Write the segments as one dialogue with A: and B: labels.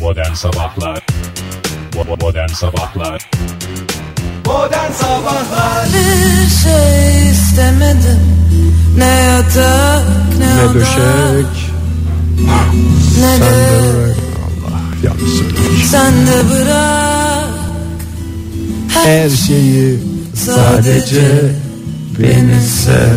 A: Modern Sabahlar Bo- Modern Sabahlar
B: Modern Sabahlar
C: Bir şey istemedim Ne yatak ne,
D: Ne
C: oda,
D: döşek
C: Ne
D: ben
C: de
D: de bırak. Allah yanlış söylemiş.
C: sen de bırak
D: Her şeyi sadece beni sev.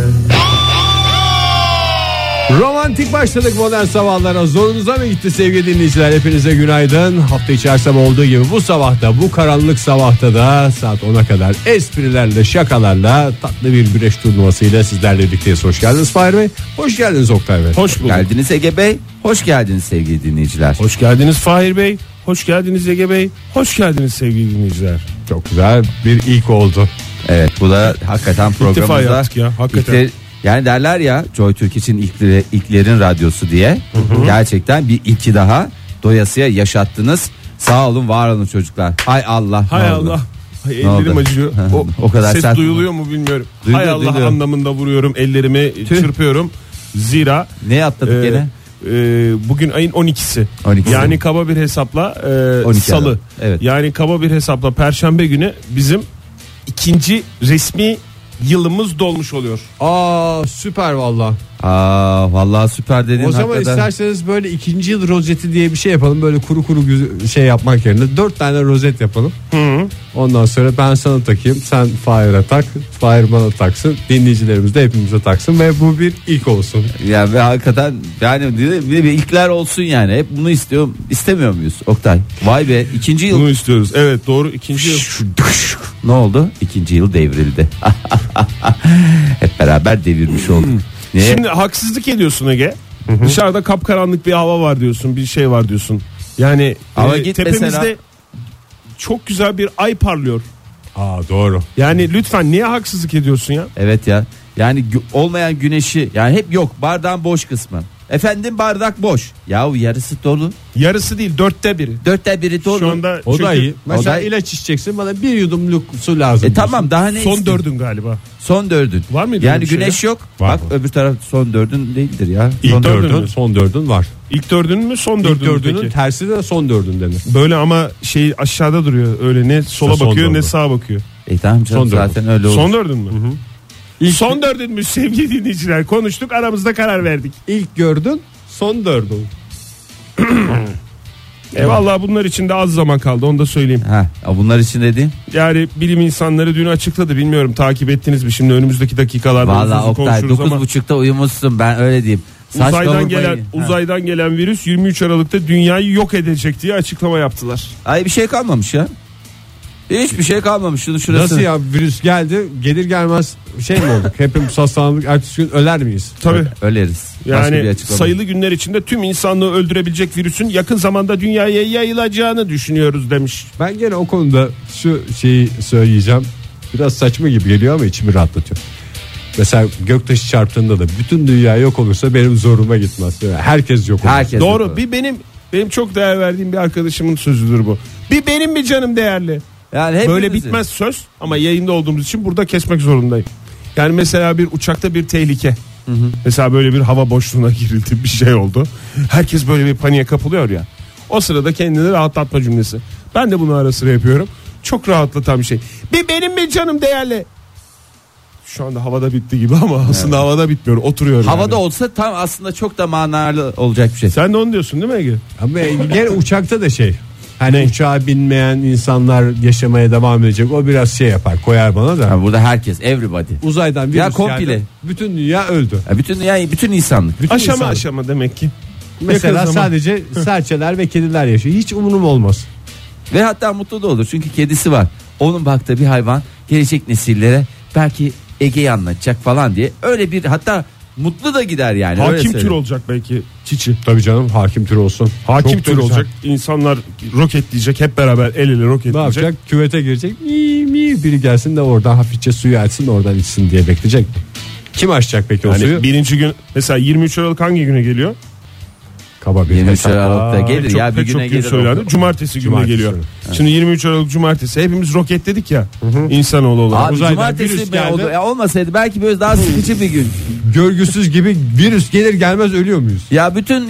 D: Romantik başladık modern sabahlara. Zorunuza mı gitti sevgili dinleyiciler? Hepinize günaydın. Hafta içi her sabah olduğu gibi bu sabahta, bu karanlık sabahta da saat 10'a kadar esprilerle, şakalarla tatlı bir güreş turnuvasıyla sizlerle birlikteyiz. Hoş geldiniz Fahir Bey. Hoş geldiniz Oktay Bey.
E: Hoş bulduk.
B: Geldiniz Ege Bey Hoş geldiniz sevgili dinleyiciler
E: Hoş geldiniz Fahir Bey. Hoş geldiniz Ege Bey. Hoş geldiniz sevgili dinleyiciler.
D: Çok güzel bir ilk oldu.
B: Evet bu da hakikaten programımızda
E: yaptık ya, hakikaten.
B: ilkler- yani derler ya Joy Türk için ilkleri- ilklerin radyosu diye Gerçekten bir ilki daha Doyasıya yaşattınız Sağ olun var olun çocuklar Hay Allah
E: Hay
B: ne oldu?
E: Allah. Ay,
B: Ne
E: ellerim
B: oldu?
E: acıyor. O,
B: O kadar
E: ses
B: sert
E: duyuluyor mu bilmiyorum.
B: Duyuluyor,
E: Hay Allah
B: duyuluyor.
E: anlamında vuruyorum ellerimi çırpıyorum. Zira
B: Ne atladık
E: e,
B: gene
E: e, bugün ayın 12'si.
B: 12'si.
E: Yani kaba bir hesapla e,
B: 12
E: salı.
B: Aralık, evet.
E: Yani kaba bir hesapla perşembe günü bizim ikinci resmi yılımız dolmuş oluyor.
D: Aa süper valla.
B: Aa vallahi süper dedin
D: O zaman
B: hakikaten.
D: isterseniz böyle ikinci yıl rozeti diye bir şey yapalım. Böyle kuru kuru güz- şey yapmak yerine dört tane rozet yapalım. Ondan sonra ben sana takayım. Sen Fahir'e tak. Fahir bana taksın. Dinleyicilerimiz de hepimize taksın. Ve bu bir ilk olsun.
B: Ya ve hakikaten yani bir de- bir de ilkler olsun yani. Hep bunu istiyorum. İstemiyor muyuz Oktay? Vay be ikinci yıl
E: Bunu istiyoruz. Evet doğru ikinci yıl.
B: ne oldu? İkinci yıl devrildi. Hep beraber devirmiş olduk. Niye?
E: Hmm. Şimdi haksızlık ediyorsun Ege. Dışarıda kapkaranlık bir hava var diyorsun, bir şey var diyorsun. Yani
B: Ama
E: e,
B: git
E: tepemizde
B: mesela-
E: çok güzel bir ay parlıyor.
D: Aa doğru.
E: Yani lütfen niye haksızlık ediyorsun ya?
B: Evet ya. Yani gü- olmayan güneşi yani hep yok bardağın boş kısmı. Efendim bardak boş. Yahu yarısı dolu.
E: Yarısı değil, dörtte biri.
B: Dörtte biri dolu.
E: Şu anda
D: O da
E: çünkü
D: iyi. Mesela
B: da iyi.
D: ilaç içeceksin bana bir yudumluk su lazım.
B: E tamam daha ne?
E: son
B: istiyorsun?
E: dördün galiba.
B: Son dördün.
E: Var mıydı öyle
B: Yani
E: bir şey
B: güneş yok.
D: Var
B: Bak
D: mı?
B: öbür taraf son dördün değildir ya.
E: İlk
B: son
E: dördün
D: Dördün,
E: mü?
D: son dördün var.
E: İlk dördün mü, son
D: İlk
E: dördün mü
D: dördünün
E: peki?
D: tersi de son dördün denir.
E: Böyle ama şey aşağıda duruyor. Öyle ne sola
D: İşte son
E: bakıyor ne
D: dördün.
E: sağa bakıyor.
B: E tamam canım
D: Son dördün.
B: zaten öyle olur.
E: Son dördün mü? Son dördün mü sevgili dinleyiciler? Konuştuk aramızda karar verdik.
D: İlk gördün son dördün.
E: E vallahi bunlar için de az zaman kaldı onu da söyleyeyim.
B: Ha, bunlar için dediğin.
E: Yani bilim insanları dün açıkladı bilmiyorum takip ettiniz mi şimdi önümüzdeki dakikalarda
B: Valla
E: uzun uzun
B: Oktay
E: konuşuruz ama
B: 9.30'da uyumuşsun ben öyle diyeyim. Saç
E: uzaydan
B: kavurmayı-
E: gelen
B: Ha.
E: uzaydan gelen virüs 23 Aralık'ta dünyayı yok edecek diye açıklama yaptılar.
B: Ay bir şey kalmamış ya. Hiçbir şey kalmamış şunu şurası.
D: Nasıl ya virüs geldi gelir gelmez şey mi olduk? Hepimiz hastalandık ertesi gün öler miyiz?
E: Tabii.
B: Öleriz. Başka bir
E: Yani
B: açıklama.
E: sayılı günler içinde tüm insanlığı öldürebilecek virüsün yakın zamanda dünyaya yayılacağını düşünüyoruz demiş.
D: Ben gene o konuda şu şeyi söyleyeceğim. Biraz saçma gibi geliyor ama içimi rahatlatıyor. Mesela göktaşı çarptığında da bütün dünya yok olursa benim zoruma gitmez. Yani herkes yok olur.
B: Herkes
E: Doğru. Bir benim benim çok değer verdiğim bir arkadaşımın sözüdür bu. Bir benim bir canım değerli.
B: Yani hepimiz-
E: Böyle bitmez söz ama yayında olduğumuz için burada kesmek zorundayım. Yani mesela bir uçakta bir tehlike. Mesela böyle bir hava boşluğuna girildi bir şey oldu. Herkes böyle bir paniğe kapılıyor ya. O sırada kendini rahatlatma cümlesi. Ben de bunu ara sıra yapıyorum. Çok rahatlatan bir şey. Bir benim bir canım değerli. Şu anda havada bitti gibi ama aslında havada bitmiyor. Oturuyor.
B: Havada
E: yani.
B: olsa tam aslında çok da manalı olacak bir şey.
E: Sen de onu diyorsun değil mi Ege?
D: Ama gene uçakta da şey. Hani uçağa binmeyen insanlar yaşamaya devam edecek. O biraz şey yapar koyar bana da.
B: Ha, burada herkes everybody.
D: Uzaydan virüs
B: Ya komple.
D: geldi. Bütün dünya öldü.
B: Ya bütün yani bütün insanlık.
D: Bütün
E: Aşama
D: insan-
E: aşama demek ki.
D: Mesela
E: Yakın zaman.
D: sadece serçeler ve kediler yaşıyor. Hiç umurum olmaz.
B: Ve hatta mutlu da olur çünkü kedisi var. Onun baktığı bir hayvan gelecek nesillere belki Ege'yi anlatacak falan diye. Öyle bir hatta mutlu da gider yani. öyle
E: Hakim tür
B: söyleyeyim.
E: olacak belki çiçi.
D: Tabii canım hakim tür olsun.
E: Hakim
D: Çok da
E: tür
D: güzel.
E: olacak. İnsanlar roketleyecek hep beraber el ele
D: Ne
E: roketleyecek.
D: yapacak? Küvete girecek. Mi mi biri gelsin de oradan hafifçe suyu açsın da oradan içsin diye bekleyecek. Kim açacak peki o
E: Yani
D: suyu?
E: birinci gün mesela 23 Aralık hangi güne geliyor?
D: Kaba bir
B: 23
D: hesap.
B: Aralık'ta
E: Pek
B: gelir
E: çok,
B: ya bir
E: pek çok
B: güne
E: gün
B: gelir.
E: söylendi.
B: o.
E: Cumartesi gününe
D: Cumartesi
E: geliyor.
D: günü.
E: Şimdi 23 Aralık cumartesi hepimiz roket dedik ya. İnsanoğlu olarak.
B: Abi
D: Uzaydan
B: cumartesi
D: virüs
B: mi
D: geldi.
B: oldu? Ya olmasaydı belki böyle daha sıkıcı bir gün.
D: Görgüsüz gibi virüs gelir gelmez ölüyor muyuz?
B: Ya bütün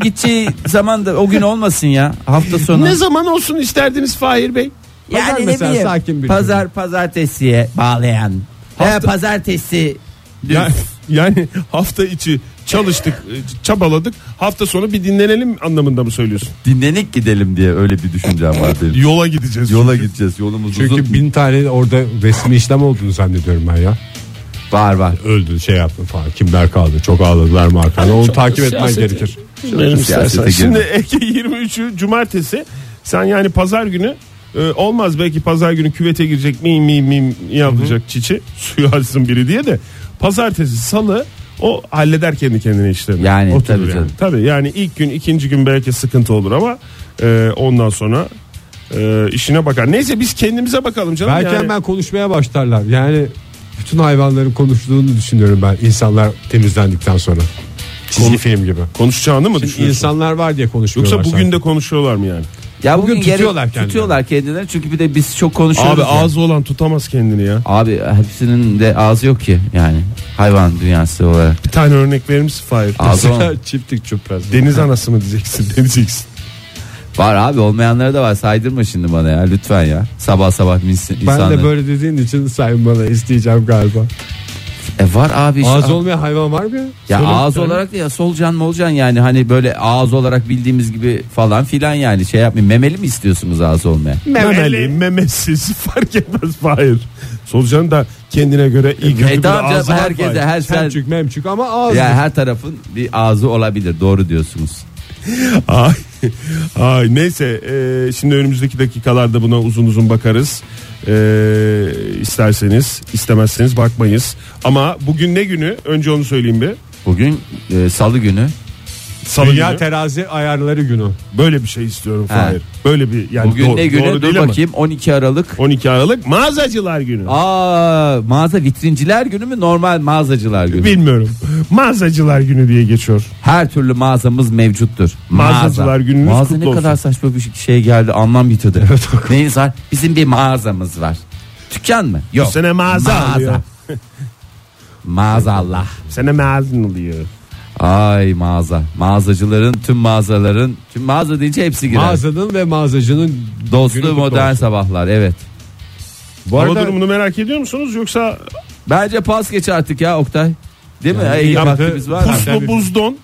B: gideceği zaman da o gün olmasın ya. Hafta sonu.
E: Ne zaman olsun isterdiniz Fahir Bey?
D: Pazar mesela sakin bir
B: Pazar pazartesiye bağlayan. He, pazartesi. düz.
E: Ya- yani hafta içi çalıştık, e, çabaladık. Hafta sonu bir dinlenelim anlamında mı söylüyorsun?
B: Dinlenik gidelim diye öyle bir düşüncem var benim.
E: Yola gideceğiz.
B: Yola gideceğiz yolumuz
D: Çünkü
B: uzun.
D: bin tane orada resmi işlem olduğunu zannediyorum ben ya.
B: Var var.
D: Öldü şey yaptı falan. Kimler kaldı? Çok ağladılar mı arkada? Onu takip etmen gerekir.
E: Dinlenelim
B: Siyasete
E: istersen.
B: girme.
E: Şimdi Ege 23'ü cumartesi. Sen yani pazar günü e, olmaz belki pazar günü küvete girecek miyim miyim miyim yapacak çiçi suyu açsın biri diye de pazartesi salı o halleder kendi kendine işlerini.
B: Yani,
E: Oturur
B: tabii canım.
E: Tabii yani ilk gün ikinci gün belki sıkıntı olur ama e, ondan sonra e, işine bakar. Neyse biz kendimize bakalım canım.
D: Belki
E: yani.
D: hemen konuşmaya başlarlar. Yani bütün hayvanların konuştuğunu düşünüyorum ben. İnsanlar temizlendikten sonra. Çizgi
E: Konu-
D: film gibi.
E: konuşacağını mı
D: Çünkü
E: düşünüyorsun?
D: insanlar var diye konuşuyorlar.
E: Yoksa bugün de konuşuyorlar mı yani?
B: Ya
D: Bugün
B: bugün, gerek-
D: tutuyorlar kendilerini.
B: tutuyorlar kendilerini. Çünkü bir de biz çok konuşuyoruz.
E: Abi
B: ya.
E: ağzı olan tutamaz kendini ya.
B: Abi hepsinin de ağzı yok ki yani hayvan dünyası olarak.
E: Bir tane örnek verir misin Fahir?
B: Ağzı olan-
D: çiftlik çöpraz.
E: Deniz anası mı diyeceksin? Deneyeceksin.
B: Var abi olmayanları da var saydırma şimdi bana ya lütfen ya. Sabah sabah mis-
D: Ben
B: insanları.
D: de böyle dediğin için saymalı isteyeceğim galiba.
B: E var abi. işte.
D: Ağız olmayan hayvan var mı? ya?
B: Ya
D: Söyle.
B: ağız olarak da ya solcan molcan yani hani böyle ağız olarak bildiğimiz gibi falan filan yani şey yapmayın. Memeli mi istiyorsunuz ağız olmaya?
E: Memeli, memesiz fark etmez Fahir. Solucan da kendine göre iyi kötü
B: E
E: bir
B: tamam canım,
E: ağzı var
B: herkese
E: Fahir.
B: her sen,
D: Hemçük memçük ama ağız.
B: yani her tarafın bir ağzı olabilir doğru diyorsunuz.
E: Ay, ay, neyse e, şimdi önümüzdeki dakikalarda buna uzun uzun bakarız. E, isterseniz istemezseniz bakmayız. Ama bugün ne günü? Önce onu söyleyeyim bir.
B: Bugün e, salı günü
E: Salı
D: Dünya
E: günü.
D: terazi ayarları günü.
E: Böyle bir şey istiyorum
B: Ha.
E: Fahir. Böyle bir yani
B: bugün
E: doğru,
B: ne günü
E: doğru
B: dur
E: değil ama.
B: bakayım 12 Aralık.
E: 12 Aralık mağazacılar günü.
B: Aa mağaza vitrinciler günü mü normal mağazacılar günü?
E: Bilmiyorum. Mağazacılar günü diye geçiyor.
B: Her türlü mağazamız mevcuttur.
E: Mağazacılar
B: Mağaza.
E: gününüz
B: Mağaza
E: kutlu
B: ne kadar
E: olsun.
B: saçma bir şey geldi anlam yitirdi. Neyiniz var? Bizim bir mağazamız var. Dükkan mı? Yok.
E: Bu sene mağaza alıyor.
B: Maazallah.
E: Sene mağazın oluyor.
B: Ay mağaza. Mağazacıların tüm mağazaların tüm mağaza deyince hepsi girer.
D: Mağazanın ve mağazacının günü
B: Dostluğu
D: kutlu
B: modern
D: olsun.
B: sabahlar evet.
D: Bu
E: Hava
D: arada
E: durumunu merak ediyor musunuz yoksa
B: Bence pas geç artık ya Oktay. Değil mi? Ege
D: yaptı.
B: vaktimiz var.
D: Pus-
E: puslu
D: Tabii.
E: buzdon?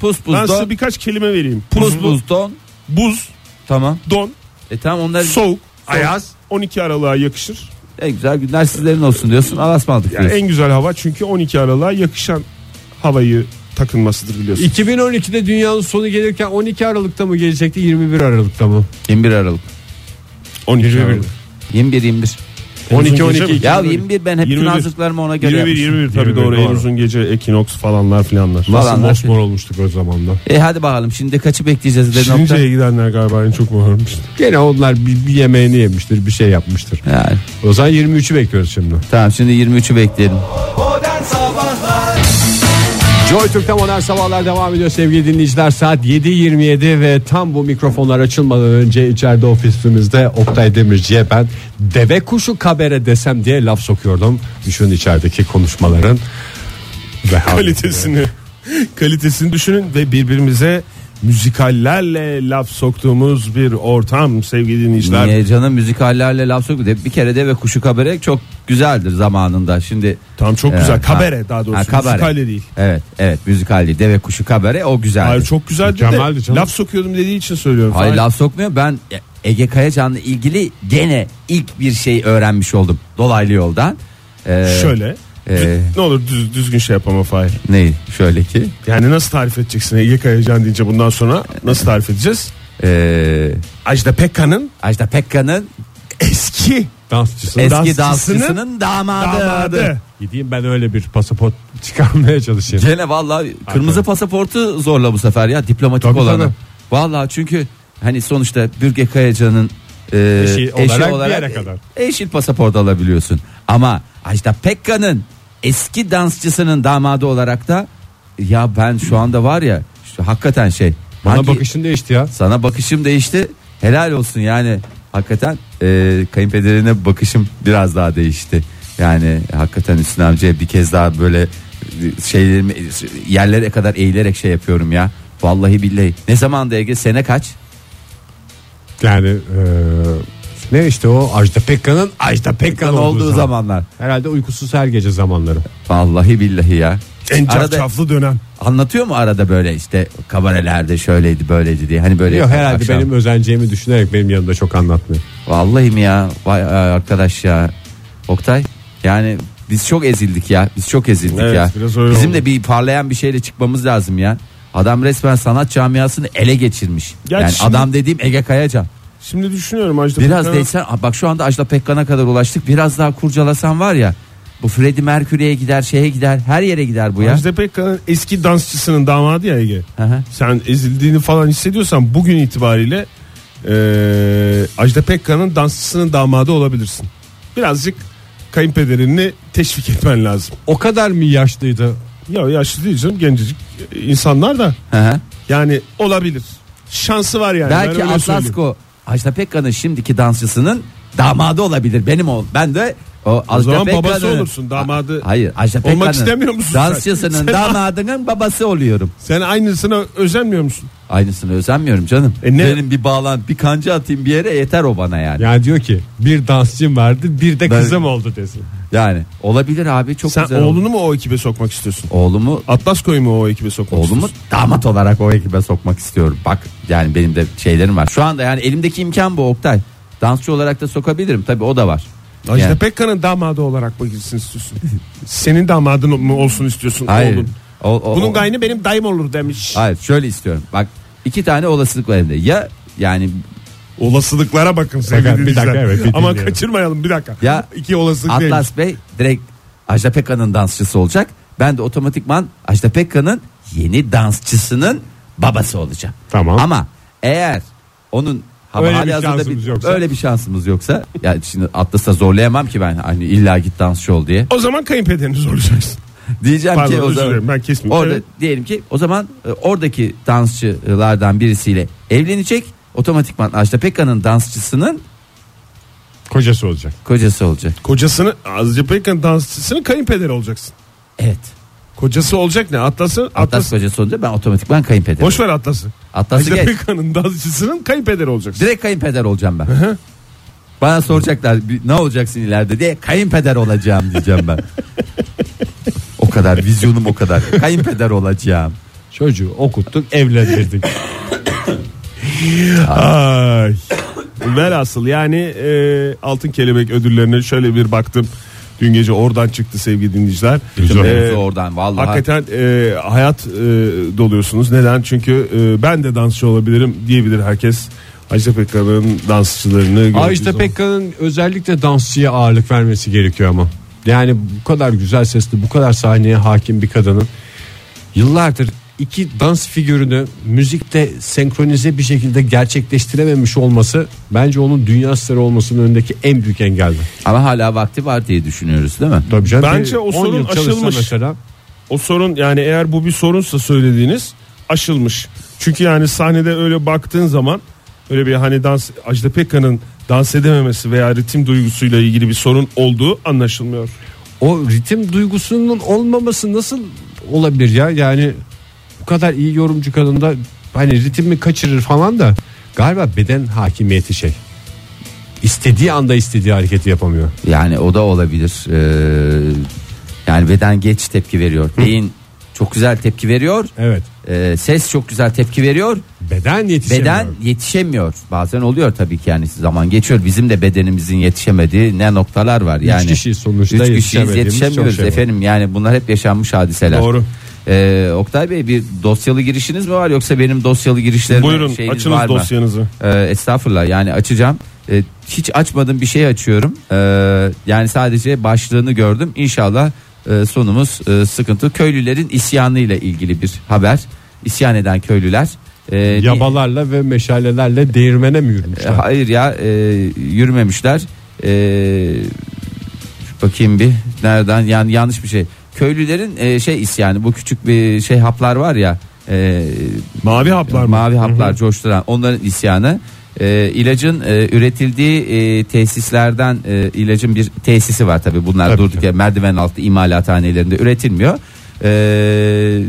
B: Pus
E: Ben
B: buz
E: size
B: don.
E: birkaç kelime vereyim.
B: Pus
E: Puslu,
B: buz don.
E: buz,
B: Tamam.
E: don,
B: E tamam onlar
E: soğuk, ayaz. 12 Aralık'a yakışır.
B: en güzel günler sizlerin olsun diyorsun. Alasmadık
E: Yani
B: diyorsun.
E: en güzel hava çünkü 12 Aralık'a yakışan havayı takınmasıdır biliyorsun.
D: 2012'de dünyanın sonu gelirken 12 Aralık'ta mı gelecekti 21 Aralık'ta mı?
B: 21 Aralık.
E: 12 Aralık.
B: 21 21.
E: En uzun
D: 12
E: gece
D: 12
E: mi?
B: Ya 21 ben hep
E: 21.
B: münazıklarımı ona göre
E: 21
B: yapmışım.
E: 21 tabii
D: 21,
E: doğru. En
D: doğru.
E: uzun gece ekinoks falanlar filanlar.
B: Vallahi
D: Nasıl
B: Falanlar.
D: mosmor olmuştuk o zamanlar.
B: E hadi bakalım şimdi kaçı bekleyeceğiz dedin nokta.
E: Şirince'ye gidenler galiba en çok muharmıştı.
D: Gene onlar bir, bir yemeğini yemiştir bir şey yapmıştır.
B: Yani,
D: O zaman 23'ü bekliyoruz şimdi.
B: tamam şimdi 23'ü bekleyelim.
D: Joy Türk'te modern sabahlar devam ediyor sevgili dinleyiciler. Saat 7.27 ve tam bu mikrofonlar açılmadan önce içeride ofisimizde Oktay Demirci'ye ben deve kuşu kabere desem diye laf sokuyordum. Düşün içerideki konuşmaların ve
E: kalitesini kalitesini düşünün ve birbirimize müzikallerle laf soktuğumuz bir ortam sevgili dinleyiciler.
B: Niye canım müzikallerle laf sokmadı. Hep Bir kere de ve kuşu kabere çok güzeldir zamanında. Şimdi
E: Tam çok
B: Evet,
E: güzel.
B: ha.
E: Kabere daha doğrusu.
B: Ha, kabare.
E: Müzikalle değil.
B: evet evet müzikal değil. Deve kuşu kabere o güzeldi.
E: Hayır çok güzeldi
D: Mükemmeldi
E: de
D: canım.
E: laf sokuyordum dediği için söylüyorum.
B: Hayır
E: Hayır,
B: laf sokmuyor. Ben Ege Kayacan'la ilgili gene ilk bir şey öğrenmiş oldum. Dolaylı yoldan. Ee,
E: Şöyle.
B: Ee.
E: ne olur düz, düzgün şey yapama Fahir.
B: Ne? Şöyle ki.
E: Yani nasıl tarif edeceksin Ege Kayacan deyince bundan sonra nasıl tarif edeceğiz?
B: Ee,
E: Ajda Pekka'nın
B: Ajda Pekka'nın
E: eski
D: dansçısı.
B: eski
E: Dansçısının
B: dansçısının damadı.
E: damadı.
D: Gideyim ben öyle bir pasaport çıkarmaya çalışayım.
B: Gene vallahi kırmızı
D: Hakikaten.
B: pasaportu zorla bu sefer ya diplomatik
D: Tabii,
B: olanı.
D: tabii.
B: Vallahi çünkü hani sonuçta Bürge Kayacan'ın e,
D: Eşi
B: eşi
D: olarak bir
B: olarak,
D: yere kadar.
B: e, eşit pasaport alabiliyorsun. Ama Ajda Pekka'nın eski dansçısının damadı olarak da ya ben şu anda var ya şu hakikaten şey
D: Bana
B: Hangi-
D: bakışın değişti ya.
B: Sana bakışım değişti. Helal olsun yani. Hakikaten e, kayınpederine bakışım biraz daha değişti. Yani hakikaten Hüsnü amcaya bir kez daha böyle e, şeylerimi yerlere kadar eğilerek şey yapıyorum ya. Vallahi billahi. Ne zamandı Ege? Sene kaç?
D: Yani e, ne işte o Ajda Pekkan'ın Ajda Pekkan olduğu,
B: olduğu
D: zaman.
B: zamanlar.
D: Herhalde uykusuz her gece zamanları.
B: Vallahi billahi ya.
E: En
B: Arada-
E: çafçaflı dönem.
B: Anlatıyor mu arada böyle işte kabarelerde şöyleydi böyleydi diye. Hani böyle
D: Yok
B: yapıyor
D: herhalde
B: akşam.
D: benim özeneceğimi düşünerek benim yanımda çok anlatmıyor.
B: Vallahi mi ya? Vay ay, arkadaş ya. Oktay yani biz çok ezildik ya. Biz çok ezildik
E: Evet,
B: ya.
E: biraz öyle
B: Bizim de
E: oldu.
B: bir parlayan bir şeyle çıkmamız lazım ya. Adam resmen sanat camiasını ele geçirmiş.
E: Gerçi
B: yani
E: şimdi-
B: adam dediğim Ege Kayacan.
E: Şimdi düşünüyorum Ajda
B: Biraz
E: Pekkan'a-
B: değsen Aa, bak şu anda Ajda Pekkan'a kadar ulaştık. Biraz daha kurcalasan var ya. Bu Freddie Mercury'ye gider, şeye gider, her yere gider bu ya.
E: Ajda Pekkan'ın eski dansçısının damadı ya Ege.
B: Hı hı.
E: Sen ezildiğini falan hissediyorsan bugün itibariyle e, Ajda Pekkan'ın dansçısının damadı olabilirsin. Birazcık kayınpederini teşvik etmen lazım.
D: O kadar mı yaşlıydı?
E: Ya yaşlı değil canım gencecik insanlar da
B: Hı hı.
E: yani olabilir. Şansı var yani. Ben
B: Belki
E: öyle söyleyeyim.
B: Atlasko Ajda Pekkan'ın şimdiki dansçısının damadı olabilir. Benim ol. Ben de o, Ajda
E: zaman
B: Pekkan'ın-
E: babası olursun, damadı
B: Ha- Hayır, Ajda
E: olmak
B: Pekkan'ın
E: istemiyor musun sen?
B: Dansçısının
E: Sen-
B: damadının babası oluyorum.
E: Sen aynısına özenmiyor musun?
B: Aynısını özenmiyorum canım.
E: E ne-
B: Benim bir bağlan, bir kanca atayım bir yere yeter o bana yani.
D: Yani diyor ki bir dansçım vardı bir de
B: Ben-
D: kızım oldu desin.
B: Yani olabilir abi çok
E: Sen
B: güzel. oldu.
E: oğlunu mu o ekibe sokmak istiyorsun?
B: oğlumu
E: Atlas koyu mu o ekibe sokmak
B: Oğlumu
E: istiyorsun?
B: damat olarak o ekibe sokmak istiyorum. Bak yani benim de şeylerim var. Şu anda yani elimdeki imkan bu Oktay. Dansçı olarak da sokabilirim tabii o da var.
E: Ajda
B: Yani-
E: Pekkan'ın damadı olarak mı girsin istiyorsun? Senin damadın mı olsun istiyorsun
B: Hayır.
E: oğlum?
B: O- o-
E: Bunun
B: o-
E: gaynı benim dayım olur demiş.
B: Hayır şöyle istiyorum. Bak iki tane olasılık var elimde. Ya yani
E: Olasılıklara bakın sevgili
D: Bakın, bir dakika,
E: dinleyiciler.
D: evet, bir
E: Ama
D: dinleyelim.
E: kaçırmayalım bir dakika.
B: Ya,
E: İki olasılık değilmiş.
B: Atlas Bey direkt Ajda Pekkan'ın dansçısı olacak. Ben de otomatikman Ajda Pekkan'ın yeni dansçısının babası olacağım.
D: Tamam.
B: Ama eğer onun ama
D: Öyle bir
B: halihazırda
D: şansımız yoksa.
B: öyle bir şansımız yoksa ya şimdi Atlas'a zorlayamam ki ben hani illa git dansçı ol diye.
E: O zaman kayınpederini soracaksın.
B: Diyeceğim
E: Pardon,
B: ki o
E: özür
B: zaman
E: dilerim, ben kesmeyeyim.
B: orada
E: Evet.
B: diyelim ki o zaman e, oradaki dansçılardan birisiyle evlenecek. Otomatikman Ajda Pekkan'ın dansçısının
D: Kocası olacak.
B: kocası olacak.
E: Kocasını Azıcık Pekkan dansçısının kayınpederi olacaksın.
B: Evet.
E: Kocası olacak ne? Atlas'ın
B: Atlas,
E: Atlas.
B: kocası olunca ben otomatikman kayınpeder.
E: Boş ver Atlas'ı.
B: Atlas'ı
E: Ajda
B: geç.
E: Pekkan'ın dansçısının kayınpederi olacaksın.
B: Direkt kayınpeder olacağım ben. Bana soracaklar "Bir- ne olacaksın ileride diye kayınpeder olacağım diyeceğim ben. o kadar vizyonum o kadar. Kayınpeder olacağım.
D: Çocuğu okuttuk evlendirdik.
E: Ay. Velhasıl yani e, Altın Kelebek ödüllerine şöyle bir baktım. Dün gece oradan çıktı sevgili dinleyiciler.
D: Güzel.
E: E,
B: Mevzu oradan vallahi.
E: Hakikaten e, hayat e, doluyorsunuz. Neden? Çünkü e, ben de dansçı olabilirim diyebilir herkes. Ajda Pekkan'ın dansçılarını gördüğü
D: Ajda
E: zaman.
D: Pekkan'ın özellikle dansçıya ağırlık vermesi gerekiyor ama. Yani bu kadar güzel sesli, bu kadar sahneye hakim bir kadının yıllardır iki dans figürünü müzikte senkronize bir şekilde gerçekleştirememiş olması bence onun dünya starı olmasının önündeki en büyük engeldi.
B: Ama hala vakti var diye düşünüyoruz değil mi?
D: Tabii canım,
E: Bence
D: bir
E: o
D: 10
E: sorun
D: yıl çalışsa
E: aşılmış.
D: Mesela,
E: O sorun yani eğer bu bir sorunsa söylediğiniz aşılmış. Çünkü yani sahnede öyle baktığın zaman öyle bir hani dans Ajda Pekkan'ın dans edememesi veya ritim duygusuyla ilgili bir sorun olduğu anlaşılmıyor.
D: o ritim duygusunun olmaması nasıl olabilir ya? Yani bu kadar iyi yorumcu kadında hani ritmi kaçırır falan da galiba beden hakimiyeti şey. İstediği anda istediği hareketi yapamıyor.
B: Yani o da olabilir. Ee, yani beden geç tepki veriyor. Beyin çok güzel tepki veriyor.
D: Evet.
B: Ee, ses çok güzel tepki veriyor.
D: Beden yetişemiyor.
B: Beden yetişemiyor. Bazen oluyor tabii ki yani zaman geçiyor. Bizim de bedenimizin yetişemediği ne noktalar var yani.
D: kişiyiz sonuçta,
B: Üç kişiyiz,
D: yetişemediğimiz çok
B: yetişemiyoruz
D: şey var.
B: efendim. Yani bunlar hep yaşanmış hadiseler.
E: Doğru.
B: Ee, Oktay Bey bir dosyalı girişiniz mi var yoksa benim dosyalı girişlerim
E: Buyurun
B: şeyiniz var
E: açınız
B: mı?
E: dosyanızı.
B: Ee, estağfurullah yani açacağım. Ee, hiç açmadığım bir şey açıyorum. Ee, yani sadece başlığını gördüm. İnşallah e, sonumuz e, sıkıntı. Köylülerin isyanıyla ilgili bir haber. İsyan eden köylüler. Ee, ni-
D: Yabalarla ve meşalelerle değirmene mi
B: E,
D: yürümüşler?
B: hayır ya e, yürümemişler. E, bakayım bir nereden yani yanlış bir şey. Köylülerin e, şey isyanı bu küçük bir şey haplar var ya e,
E: Mavi haplar mı?
B: mavi haplar coşturan onların isyanı e, ilacın e, üretildiği e, tesislerden e, ilacın bir tesisi var tabi bunlar
E: Tabii,
B: durduk
E: tabii.
B: ya merdiven altı imalathanelerinde üretilmiyor. E,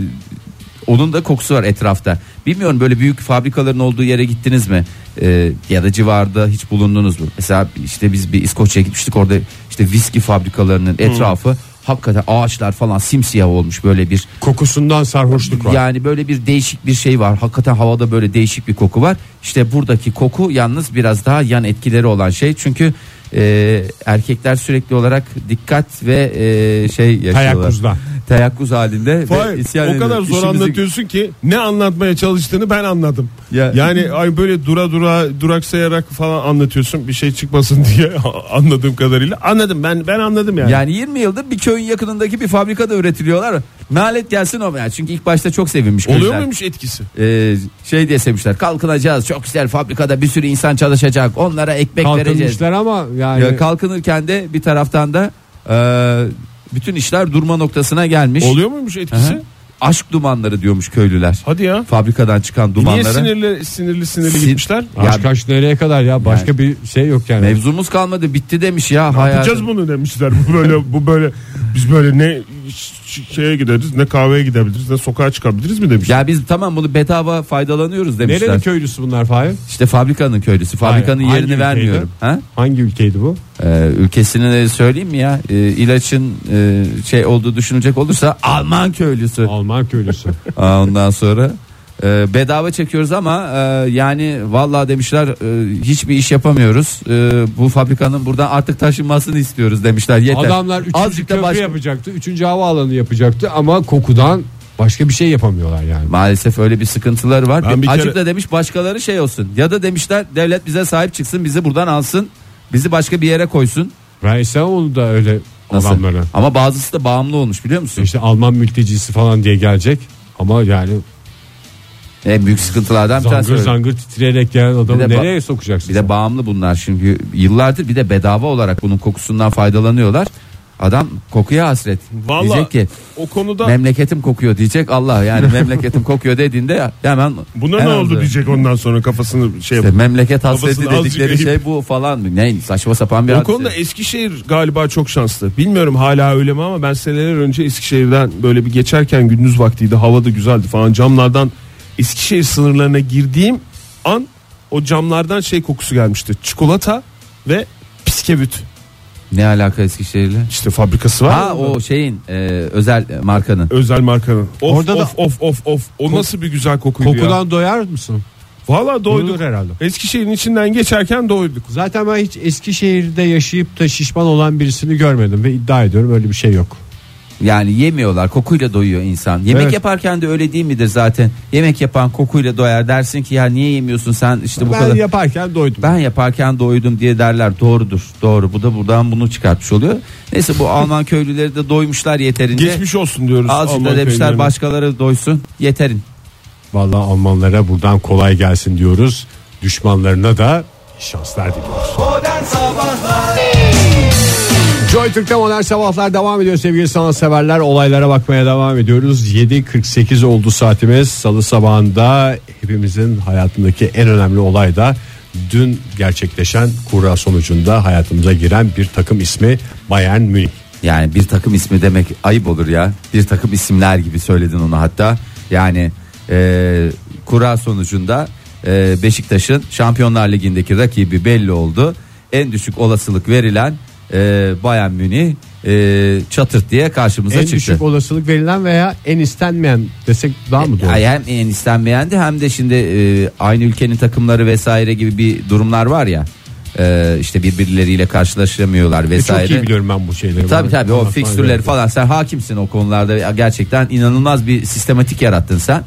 B: onun da kokusu var etrafta. Bilmiyorum böyle büyük fabrikaların olduğu yere gittiniz mi? E, ya da civarda hiç bulundunuz mu? Mesela işte biz bir İskoçya'ya gitmiştik orada işte viski fabrikalarının etrafı hakikaten ağaçlar falan simsiyah olmuş böyle bir
D: Kokusundan sarhoşluk var.
B: yani böyle bir değişik bir şey var. Hakikaten havada böyle değişik bir koku var. İşte buradaki koku yalnız biraz daha yan etkileri olan şey. Çünkü e, erkekler sürekli olarak dikkat ve e, şey yaşıyorlar.
D: Teyakkuzda.
B: Teyakkuz halinde. ve
E: Fahir,
B: e, isyan
E: o kadar
B: ediyor.
E: zor
B: İşimizi-
E: anlatıyorsun ki ne anlatmaya çalıştığını ben anladım.
B: Ya-
E: Yani ay böyle dura dura duraksayarak falan anlatıyorsun bir şey çıkmasın diye anladığım kadarıyla. Anladım ben ben anladım yani.
B: Yani 20 yıldır bir köyün yakınındaki bir fabrikada üretiliyorlar. Nalet gelsin o yani. Çünkü ilk başta çok sevinmiş.
E: Oluyor
B: köylüler.
E: muymuş etkisi?
B: E, şey diye sevmişler. Kalkınacağız. Çok güzel fabrikada bir sürü insan çalışacak. Onlara ekmek vereceğiz.
D: Kalkınmışlar ama yani
B: Ya kalkınırken de bir taraftan da e, bütün işler durma noktasına gelmiş.
E: Oluyor muymuş etkisi?
B: Aha. Aşk dumanları diyormuş köylüler.
E: Hadi ya.
B: Fabrikadan çıkan dumanlara.
E: Niye sinirli sinirli sinirli
B: Sin-
E: gitmişler?
B: Ya-
D: aşk aşk nereye kadar ya başka bir şey yok yani.
B: Mevzumuz kalmadı bitti demiş ya hayatım.
E: Yapacağız bunu demişler. Bu böyle bu böyle biz böyle ne ş- şeye gideriz ne kahveye gidebiliriz ne sokağa çıkabiliriz mi demişler.
B: Ya biz tamam bunu bedava faydalanıyoruz demişler.
D: Nereli köylüsü bunlar Fahir?
B: İşte fabrikanın köylüsü. Fabrikanın
D: Hayır, hangi
B: yerini
D: ülkeydi?
B: vermiyorum. Ha?
D: Hangi ülkeydi bu?
B: Ee, ülkesini de söyleyeyim mi ya? Ee, ilaçın e, şey olduğu düşünecek olursa Alman köylüsü.
D: Alman köylüsü.
B: Aa, Ondan sonra e, bedava çekiyoruz ama e, yani vallahi demişler e, hiçbir iş yapamıyoruz. E, bu fabrikanın buradan artık taşınmasını istiyoruz demişler. Yeter.
D: Adamlar üçüncü
B: Azıcık da
D: köprü
B: başka-
D: yapacaktı. Üçüncü havaalanı yapacaktı ama kokudan başka bir şey yapamıyorlar yani.
B: Maalesef öyle bir sıkıntıları var.
E: Ben bir
B: Azıcık
E: kere-
B: da demiş başkaları şey olsun. Ya da demişler devlet bize sahip çıksın, bizi buradan alsın, bizi başka bir yere koysun.
D: Ben İstanbul'da da öyle
B: Nasıl?
D: adamları.
B: Ama bazısı da bağımlı olmuş biliyor musun?
D: İşte Alman mültecisi falan diye gelecek. Ama yani
B: En büyük sıkıntılardan bir tanesi.
D: zangır
B: öyle.
D: zangır titreyerek gelen adamı
B: Bir de ba-
D: nereye sokacaksın?
B: Bir de bağımlı bunlar çünkü yıllardır bir de bedava olarak bunun kokusundan faydalanıyorlar. Adam kokuya hasret.
E: Vallahi-
B: Diyecek ki
E: O konuda
B: memleketim kokuyor diyecek Allah yani memleketim kokuyor dediğinde hemen
E: buna ne
B: hemen
E: oldu
B: oluyor.
E: diyecek ondan sonra kafasını şey
B: İşte
E: yapıp.
B: memleket hasreti
E: Kafasını azıcık
B: dedikleri
E: eğip.
B: şey bu falan mı? Ne saçma sapan bir
E: O
B: hadise.
E: konuda Eskişehir galiba çok şanslı. Bilmiyorum hala öyle mi ama ben seneler önce Eskişehir'den böyle bir geçerken gündüz vaktiydi. Hava da güzeldi falan. Camlardan Eskişehir sınırlarına girdiğim an o camlardan şey kokusu gelmişti. Çikolata ve piskevüt.
B: Ne alaka Eskişehir'le?
E: İşte fabrikası var. ya
B: Ha
E: orada.
B: o şeyin e, özel markanın.
E: özel markanın. Of
D: Orada da-
E: of of of of. O nasıl bir güzel kokuydu ya.
D: Kokudan doyar mısın?
E: Valla doyduk.
D: Doyulur herhalde.
E: Eskişehir'in içinden geçerken doyduk.
D: Zaten ben hiç Eskişehir'de yaşayıp da şişman olan birisini görmedim ve iddia ediyorum öyle bir şey yok.
B: Yani yemiyorlar kokuyla doyuyor insan. Yemek
D: Evet.
B: yaparken de öyle değil midir zaten? Yemek yapan kokuyla doyar dersin ki ya niye yemiyorsun sen işte bu
D: ben
B: kadar.
D: yaparken doydum.
B: ben yaparken doydum diye derler doğrudur doğru bu da buradan bunu çıkartmış oluyor. Neyse bu Alman köylüleri de doymuşlar yeterince.
E: Geçmiş olsun diyoruz.
B: Azıcık da
E: Alman
B: demişler
E: köylerine.
B: başkaları doysun yeterin.
D: Vallahi Almanlara buradan kolay gelsin diyoruz. Düşmanlarına da iyi şanslar diliyoruz. Joy Türk'te modern sabahlar devam ediyor sevgili sanatseverler. Olaylara bakmaya devam ediyoruz. 7.48 oldu saatimiz. Salı sabahında hepimizin hayatındaki en önemli olay da dün gerçekleşen kura sonucunda hayatımıza giren bir takım ismi Bayern Münih.
B: Yani bir takım ismi demek ayıp olur ya. Bir takım isimler gibi söyledin onu hatta. Yani e, kura sonucunda e, Beşiktaş'ın Şampiyonlar Ligi'ndeki rakibi belli oldu. En düşük olasılık verilen e, Bayern Münih e, çatırt diye karşımıza
D: En
B: çıktı.
D: düşük olasılık verilen veya en istenmeyen desek daha mı doğru?
B: Ay, hem en istenmeyendi hem de şimdi e, aynı ülkenin takımları vesaire gibi bir durumlar var ya. E, işte birbirleriyle karşılaşamıyorlar
D: E, Çok
B: vesaire. E,
D: iyi biliyorum ben bu şeyleri.
B: Tabii
D: Bana
B: tabii o
D: anlatman
B: fikstürleri
D: gerek yok.
B: falan sen hakimsin o konularda Ya gerçekten inanılmaz bir sistematik yarattın sen.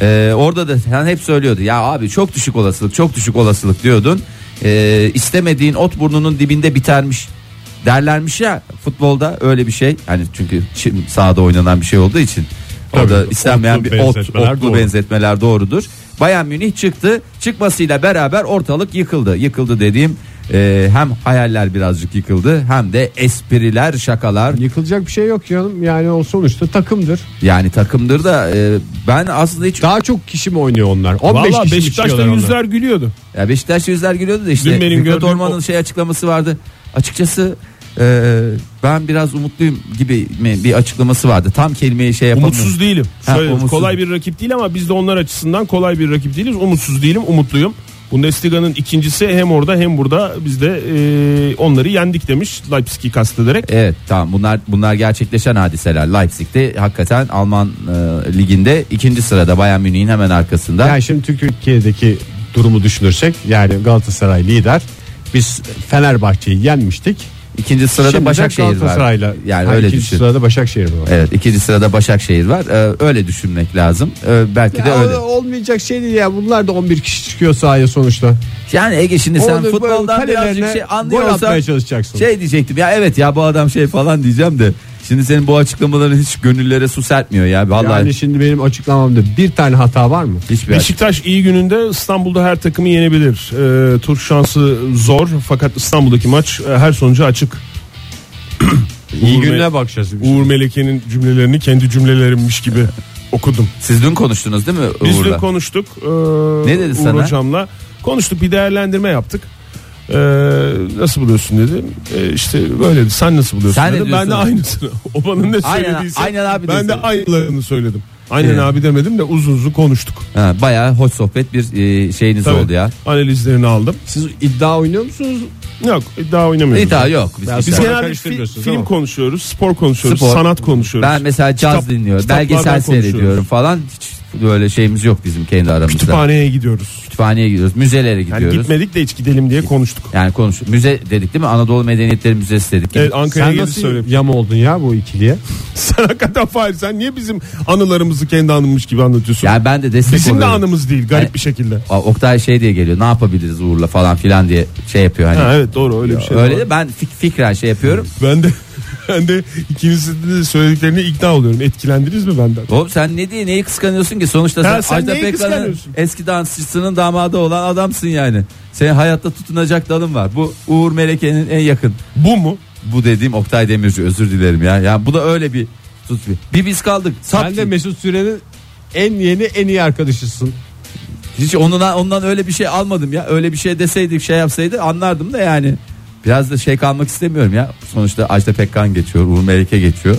B: Ee, orada da sen hep söylüyordu ya abi çok düşük olasılık çok düşük olasılık diyordun. Ee, istemediğin ot burnunun dibinde bitermiş derlermiş ya futbolda öyle bir şey. Yani çünkü şimdi sahada oynanan bir şey olduğu için orada
D: Tabii,
B: istenmeyen
D: otlu
B: bir ot,
D: benzetmeler
B: otlu
D: doğru.
B: benzetmeler doğrudur. Bayern Münih çıktı çıkmasıyla beraber ortalık yıkıldı. Yıkıldı dediğim e, hem hayaller birazcık yıkıldı hem de espriler şakalar
D: Yıkılacak bir şey yok canım. Yani o sonuçta takımdır.
B: yani takımdır da e, ben aslında hiç
D: Daha çok kişi mi oynuyor onlar? 15
E: Valla
D: kişi mi
E: Beşiktaş'ta
D: çıkıyorlar
E: yüzler gülüyordu.
B: ya Beşiktaş yüzler gülüyordu da işte
E: Dün benim
B: Fikret
E: gördüğüm
B: Orman'ın
E: o-
B: şey açıklaması vardı açıkçası e, ben biraz umutluyum gibi mi bir açıklaması vardı tam kelimeyi şey yapamıyorum
E: Umutsuz değilim.
B: Ha,
E: Söyle,
B: umutsuz.
E: Kolay bir rakip değil ama biz de onlar açısından kolay bir rakip değiliz. Umutsuz değilim, umutluyum. Bundesliga'nın ikincisi hem orada hem burada biz de e, onları yendik demiş Leipzig'i kastederek.
B: Evet tamam bunlar bunlar gerçekleşen hadiseler. Leipzig'te hakikaten Alman e, liginde ikinci sırada Bayern Münih'in hemen arkasında.
D: Yani şimdi Türkiye'deki durumu düşünürsek yani Galatasaray lider. Biz Fenerbahçe'yi yenmiştik.
B: ikinci sırada
D: Şimdi de
B: Başakşehir var.
D: Galatasaray'la-
B: Yani
D: Ha,
B: öyle
D: ikinci
B: düşün.
D: sırada Başakşehir mi var?
B: Evet ikinci sırada Başakşehir var. E, öyle düşünmek lazım. E, belki de
D: Ya
B: öyle.
D: o- Olmayacak şey değil ya. Bunlar da 11 kişi çıkıyor sahaya sonuçta.
B: Yani Ege şimdi sen
D: Onu böyle
B: futboldan birazcık
D: kalelerine
B: şey
D: gol
B: anlıyorsan
D: atmaya çalışacaksın.
B: şey diyecektim. Ya evet ya bu adam şey falan diyeceğim de. Şimdi senin bu açıklamaların hiç gönüllere su serpmiyor ya. Vallahi
D: Yani şimdi benim açıklamamda bir tane hata var mı?
B: hiçbir
E: Beşiktaş iyi gününde İstanbul'da her takımı yenebilir. E, tur şansı zor fakat İstanbul'daki maç e, her sonuca açık.
D: İyi
E: Uğur
D: gününe
E: Me-
D: bakacağız. biz.
E: Uğur Meleke'nin cümlelerini kendi cümlelerimmiş gibi okudum.
B: Siz dün konuştunuz değil mi
E: Biz
B: Uğur'la?
E: dün konuştuk. Ee,
B: Ne dedi
E: Uğur
B: sana?
E: hocamla. Konuştuk bir değerlendirme yaptık. Ee, nasıl buluyorsun dedi. Ee, işte böyle dedi. Sen nasıl buluyorsun
B: Sen ne
E: dedi. Ben de
B: diyorsun?
E: aynısını. O bana ne
B: Aynen-
E: söylediyse
B: aynen abi
E: ben de
B: desin.
E: aynılarını söyledim. Aynen
B: Ee.
E: abi demedim de uzun uzun konuştuk.
B: Ha, bayağı hoş sohbet bir e, şeyiniz
E: Tabii.
B: oldu ya.
E: Analizlerini aldım.
D: Siz iddia oynuyor musunuz?
E: Yok e, daha oynamıyoruz.
B: İta yok. Biz,
D: Ben
B: biz-
E: Biz
D: Sonra
E: genelde fi-
D: karıştırmıyorsunuz,
E: film
D: tamam.
E: konuşuyoruz, spor konuşuyoruz,
B: Spor.
E: sanat konuşuyoruz.
B: ben mesela caz
E: Kitap-
B: dinliyorum,
E: kitaplardan
B: belgesel
E: konuşuyoruz.
B: seyrediyorum falan. Hiç böyle şeyimiz yok bizim kendi aramızda.
E: Kütüphaneye gidiyoruz.
B: Kütüphaneye gidiyoruz, müzelere
E: Yani
B: gidiyoruz.
E: gitmedik de hiç gidelim diye konuştuk.
B: Yani konuş. Müze dedik değil mi? Anadolu Medeniyetleri Müzesi dedik.
E: Evet, Ankara'ya
D: Sen
E: gelip
D: nasıl
E: söyle.
D: yam oldun ya bu ikiliye?
E: Sen hakikaten Fahir sen niye bizim anılarımızı kendi anımmış gibi anlatıyorsun?
B: Yani ben de destek
E: bizim de
B: oluyorum.
E: anımız değil garip
B: Yani-
E: bir şekilde.
B: Aa, Oktay şey diye geliyor. Ne yapabiliriz Uğur'la falan filan diye şey yapıyor hani.
E: Ha, evet doğru öyle bir şey. de
B: Öyle
E: var.
B: de ben fik- fikren şey yapıyorum.
E: Ben de ben de ikinizin de söylediklerine ikna oluyorum. Etkilendiniz mi benden?
B: Oğlum sen ne diye neyi kıskanıyorsun ki? Sonuçta
E: Ha,
B: sen,
E: sen
B: Ajda
E: neyi
B: Pekkan'ın
E: kıskanıyorsun?
B: eski dansçısının damadı olan adamsın yani. Senin hayatta tutunacak dalın var. Bu Uğur Meleke'nin en yakın
E: Bu mu?
B: bu dediğim Oktay Demirci özür dilerim ya. Yani bu da öyle bir tut bir biz kaldık. Sap
D: Sen de
B: ki.
D: Mesut Süren'in en yeni en iyi arkadaşısın.
B: hiç ondan ondan öyle bir şey almadım ya. Öyle bir şey deseydik şey yapsaydı anlardım da yani. Biraz da şey kalmak istemiyorum ya. Sonuçta Ajda Pekkan geçiyor, Uğur Melike geçiyor.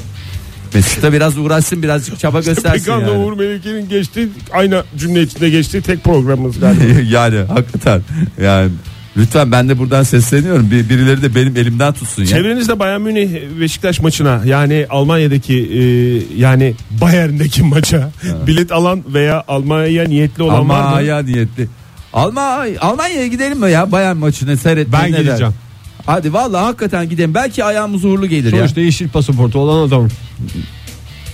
B: Mesut da biraz uğraşsın, birazcık çaba göstersin
E: Pekkan'la
B: yani.
E: Uğur Melike'nin geçtiği aynı cümle içinde geçtiği tek programımız galiba.
B: yani hakikaten. Yani lütfen ben de buradan sesleniyorum. Bir, birileri de benim elimden tutsun ya.
E: Çevrenizde Bayern Münih Beşiktaş maçına yani Almanya'daki e, yani Bayern'deki maça bilet alan veya Almanya'ya niyetli olan var mı?
B: Almanya niyetli. Alma Almanya'ya gidelim mi ya Bayern maçını seyretmeye?
D: Ben
B: ne der?
D: gideceğim.
B: Hadi vallahi hakikaten gidelim. Belki ayağımız uğurlu gelir ya.
D: Sonuçta yeşil pasaportu olan adam.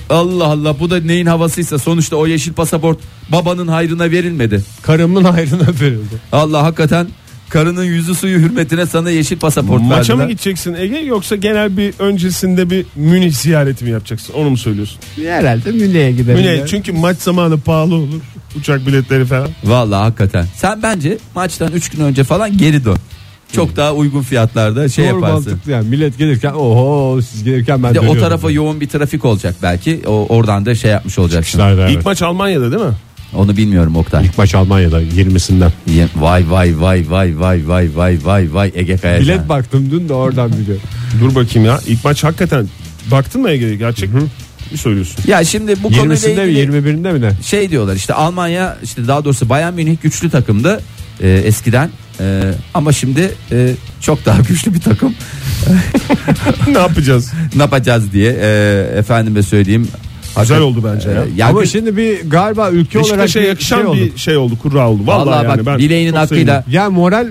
B: Allah Allah bu da neyin havasıysa sonuçta o yeşil pasaport babanın hayrına verilmedi.
D: Karımın hayrına verildi.
B: Allah hakikaten karının yüzü suyu hürmetine sana yeşil pasaport
E: Maça mı
B: verdiler.
E: gideceksin Ege yoksa genel bir öncesinde bir Münih ziyareti mi yapacaksın? Onu mu söylüyorsun?
D: Herhalde Münih'e gidelim.
E: Münih çünkü maç zamanı pahalı olur. Uçak biletleri falan.
B: Vallahi hakikaten. Sen bence maçtan 3 gün önce falan geri dön. Çok daha uygun fiyatlarda şey
D: Doğru
B: yaparsın.
D: mantıklı yani millet gelirken oho siz gelirken ben
B: Bir de o
D: dönüyorum."
B: tarafa yoğun bir trafik olacak belki. O oradan da şey yapmış olacaksın.
D: Nerede,
E: İlk
D: evet.
E: maç Almanya'da değil mi?
B: Onu bilmiyorum Oktay.
D: İlk maç Almanya'da 20'sinden.
B: Ye- Vay vay vay vay vay vay vay vay vay Ege Kayacan.
D: Bilet baktım dün de oradan biliyorum.
E: Dur bakayım ya. İlk maç hakikaten baktın mı Ege gerçek mi? Bir söylüyorsun.
B: Ya şimdi bu konuyla
D: 20'sinde
B: ilgili...
D: mi 21'inde mi ne?
B: şey diyorlar işte Almanya işte daha doğrusu Bayern Münih güçlü takımdı e, eskiden E, ama şimdi e, çok daha güçlü bir takım
E: ne yapacağız?
B: ne yapacağız diye e, efendime söyleyeyim.
E: Güzel
B: Hakikaten-
E: oldu bence ya. şey-
B: E, yani
D: Ama
B: bir-
D: şimdi bir galiba ülke olarak
E: Beşiktaş'a yakışan
D: şey oldu.
E: bir şey oldu. Kurra oldu. Vallahi,
B: vallahi
E: yani
B: bak
E: ben
B: bileğinin
E: çok
B: hakkıyla
E: sevindim.
D: Yani moral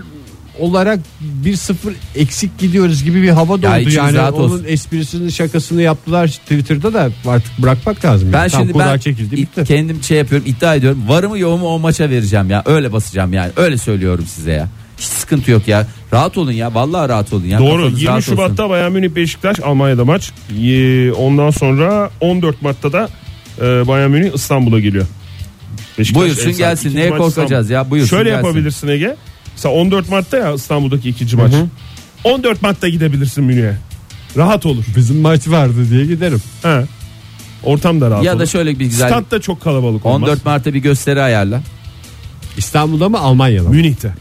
D: olarak 1-0 eksik gidiyoruz gibi bir hava doğdu
B: Ya içiniz
D: yani.
B: rahat
D: Onun
B: olsun.
D: esprisini şakasını yaptılar Twitter'da da artık bırakmak lazım.
B: ben
D: yani. Tam
B: şimdi
D: kurlar
B: ben
D: çekildi
B: it-
D: bitti.
B: kendim şey yapıyorum iddia ediyorum varımı yoğumu o maça vereceğim ya öyle basacağım yani öyle söylüyorum size ya. Hiç sıkıntı yok ya. Rahat olun ya. Vallahi rahat olun ya.
E: Doğru.
B: Kafanız
E: 20
B: rahat olsun.
E: Şubat'ta Bayern Münih Beşiktaş Almanya'da maç. Ee, Ondan sonra 14 Mart'ta da e, Bayern Münih İstanbul'a geliyor. Beşiktaş
B: Buyursun
E: ev sahibi.
B: gelsin.
E: İkinci
B: Neye
E: maç
B: korkacağız ya? Buyursun
E: Şöyle
B: gelsin.
E: yapabilirsin Ege. Mesela 14 Mart'ta ya İstanbul'daki ikinci maç. 14 Mart'ta gidebilirsin Münih'e. Rahat olur.
D: Bizim maç vardı diye giderim.
E: He. Ortam da rahat
B: Ya
E: olur.
B: da şöyle bir güzel
E: Stat da çok kalabalık olmaz.
B: 14 Mart'ta bir gösteri ayarla.
D: İstanbul'da mı Almanya'da mı?
E: Münih'te.